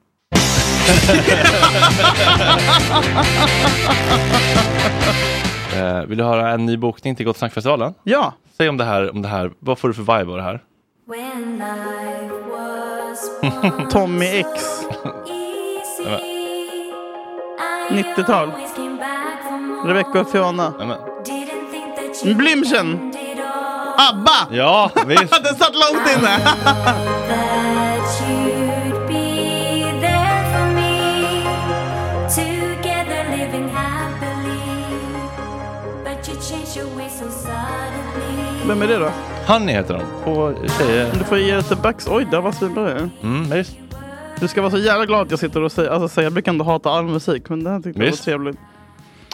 [SPEAKER 4] skojar. Eh, Vill du höra en ny bokning till Gott Snack-festivalen?
[SPEAKER 3] Ja!
[SPEAKER 4] Säg om det här, om det här, vad får du för vibe av det här?
[SPEAKER 3] Tommy X. 90-tal. Rebecca och Fiona. Blümchen. ABBA! *laughs*
[SPEAKER 4] Ja, visst.
[SPEAKER 3] Den satt långt inne. Vem är det då?
[SPEAKER 4] Honey heter de. Två tjejer.
[SPEAKER 3] Du får ge det tillbaks. Oj, det var svinbra ju.
[SPEAKER 4] Mm, visst.
[SPEAKER 3] Du ska vara så jävla glad att jag sitter och säger, alltså, säger jag brukar ändå hata all musik, men det här tyckte jag var
[SPEAKER 4] Visst.
[SPEAKER 3] trevligt.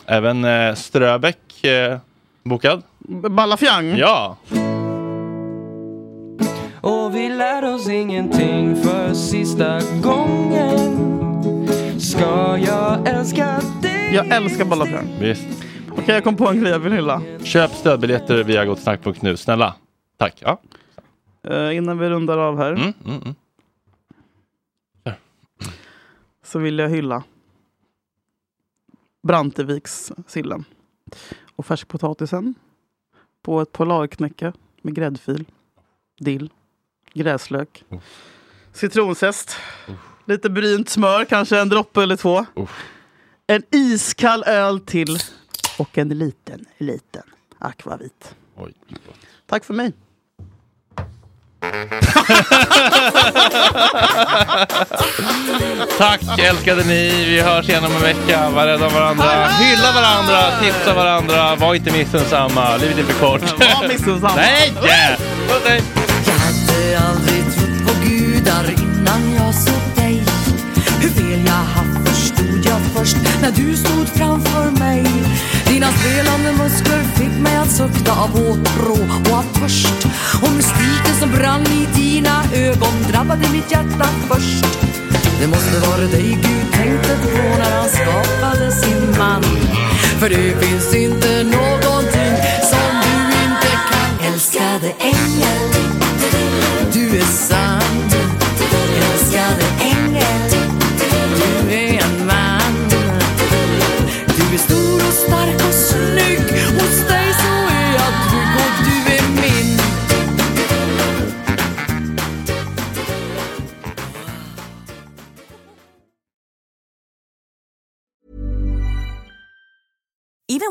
[SPEAKER 4] Även eh, Ströbeck eh, bokad.
[SPEAKER 3] Ballafjang?
[SPEAKER 4] Ja!
[SPEAKER 1] Och vi lär oss ingenting för sista gången Ska jag älska dig?
[SPEAKER 3] Jag älskar Ballafjang.
[SPEAKER 4] Visst.
[SPEAKER 3] Okej, jag kom på en grej jag vill hylla.
[SPEAKER 4] Köp stödbiljetter via gottsnack.nu. Snälla. Tack. Ja.
[SPEAKER 3] Eh, innan vi rundar av här. Så vill jag hylla Brantevikssillen och färskpotatisen på ett polarknäcke med gräddfil, dill, gräslök, citronzest, lite brynt smör, kanske en droppe eller två. En iskall öl till och en liten, liten akvavit.
[SPEAKER 4] Oj.
[SPEAKER 3] Tack för mig.
[SPEAKER 4] Tack älskade ni. Vi hörs igen om en vecka. Var rädda om varandra. Hylla varandra. Tipsa varandra. Var inte missunnsamma. Livet är för kort.
[SPEAKER 3] Var missunnsamma.
[SPEAKER 4] *laughs* Nej! Puss hej!
[SPEAKER 6] Jag hade aldrig trott på gudar innan jag såg dig Hur fel jag haft förstod jag först när du stod framför mig Dina spelande muskler fick mig att sukta av åtrå och av törst Och mystiken som brann i dina ögon drabbade mitt hjärta först Det måste vara dig Gud tänkte på när han skapade sin man För det finns inte någonting som du inte kan Älskade ängel du är sann Älskade ängel Du är en man Du är stor och stark och snygg Hos dig så är jag trygg och du är min
[SPEAKER 2] Even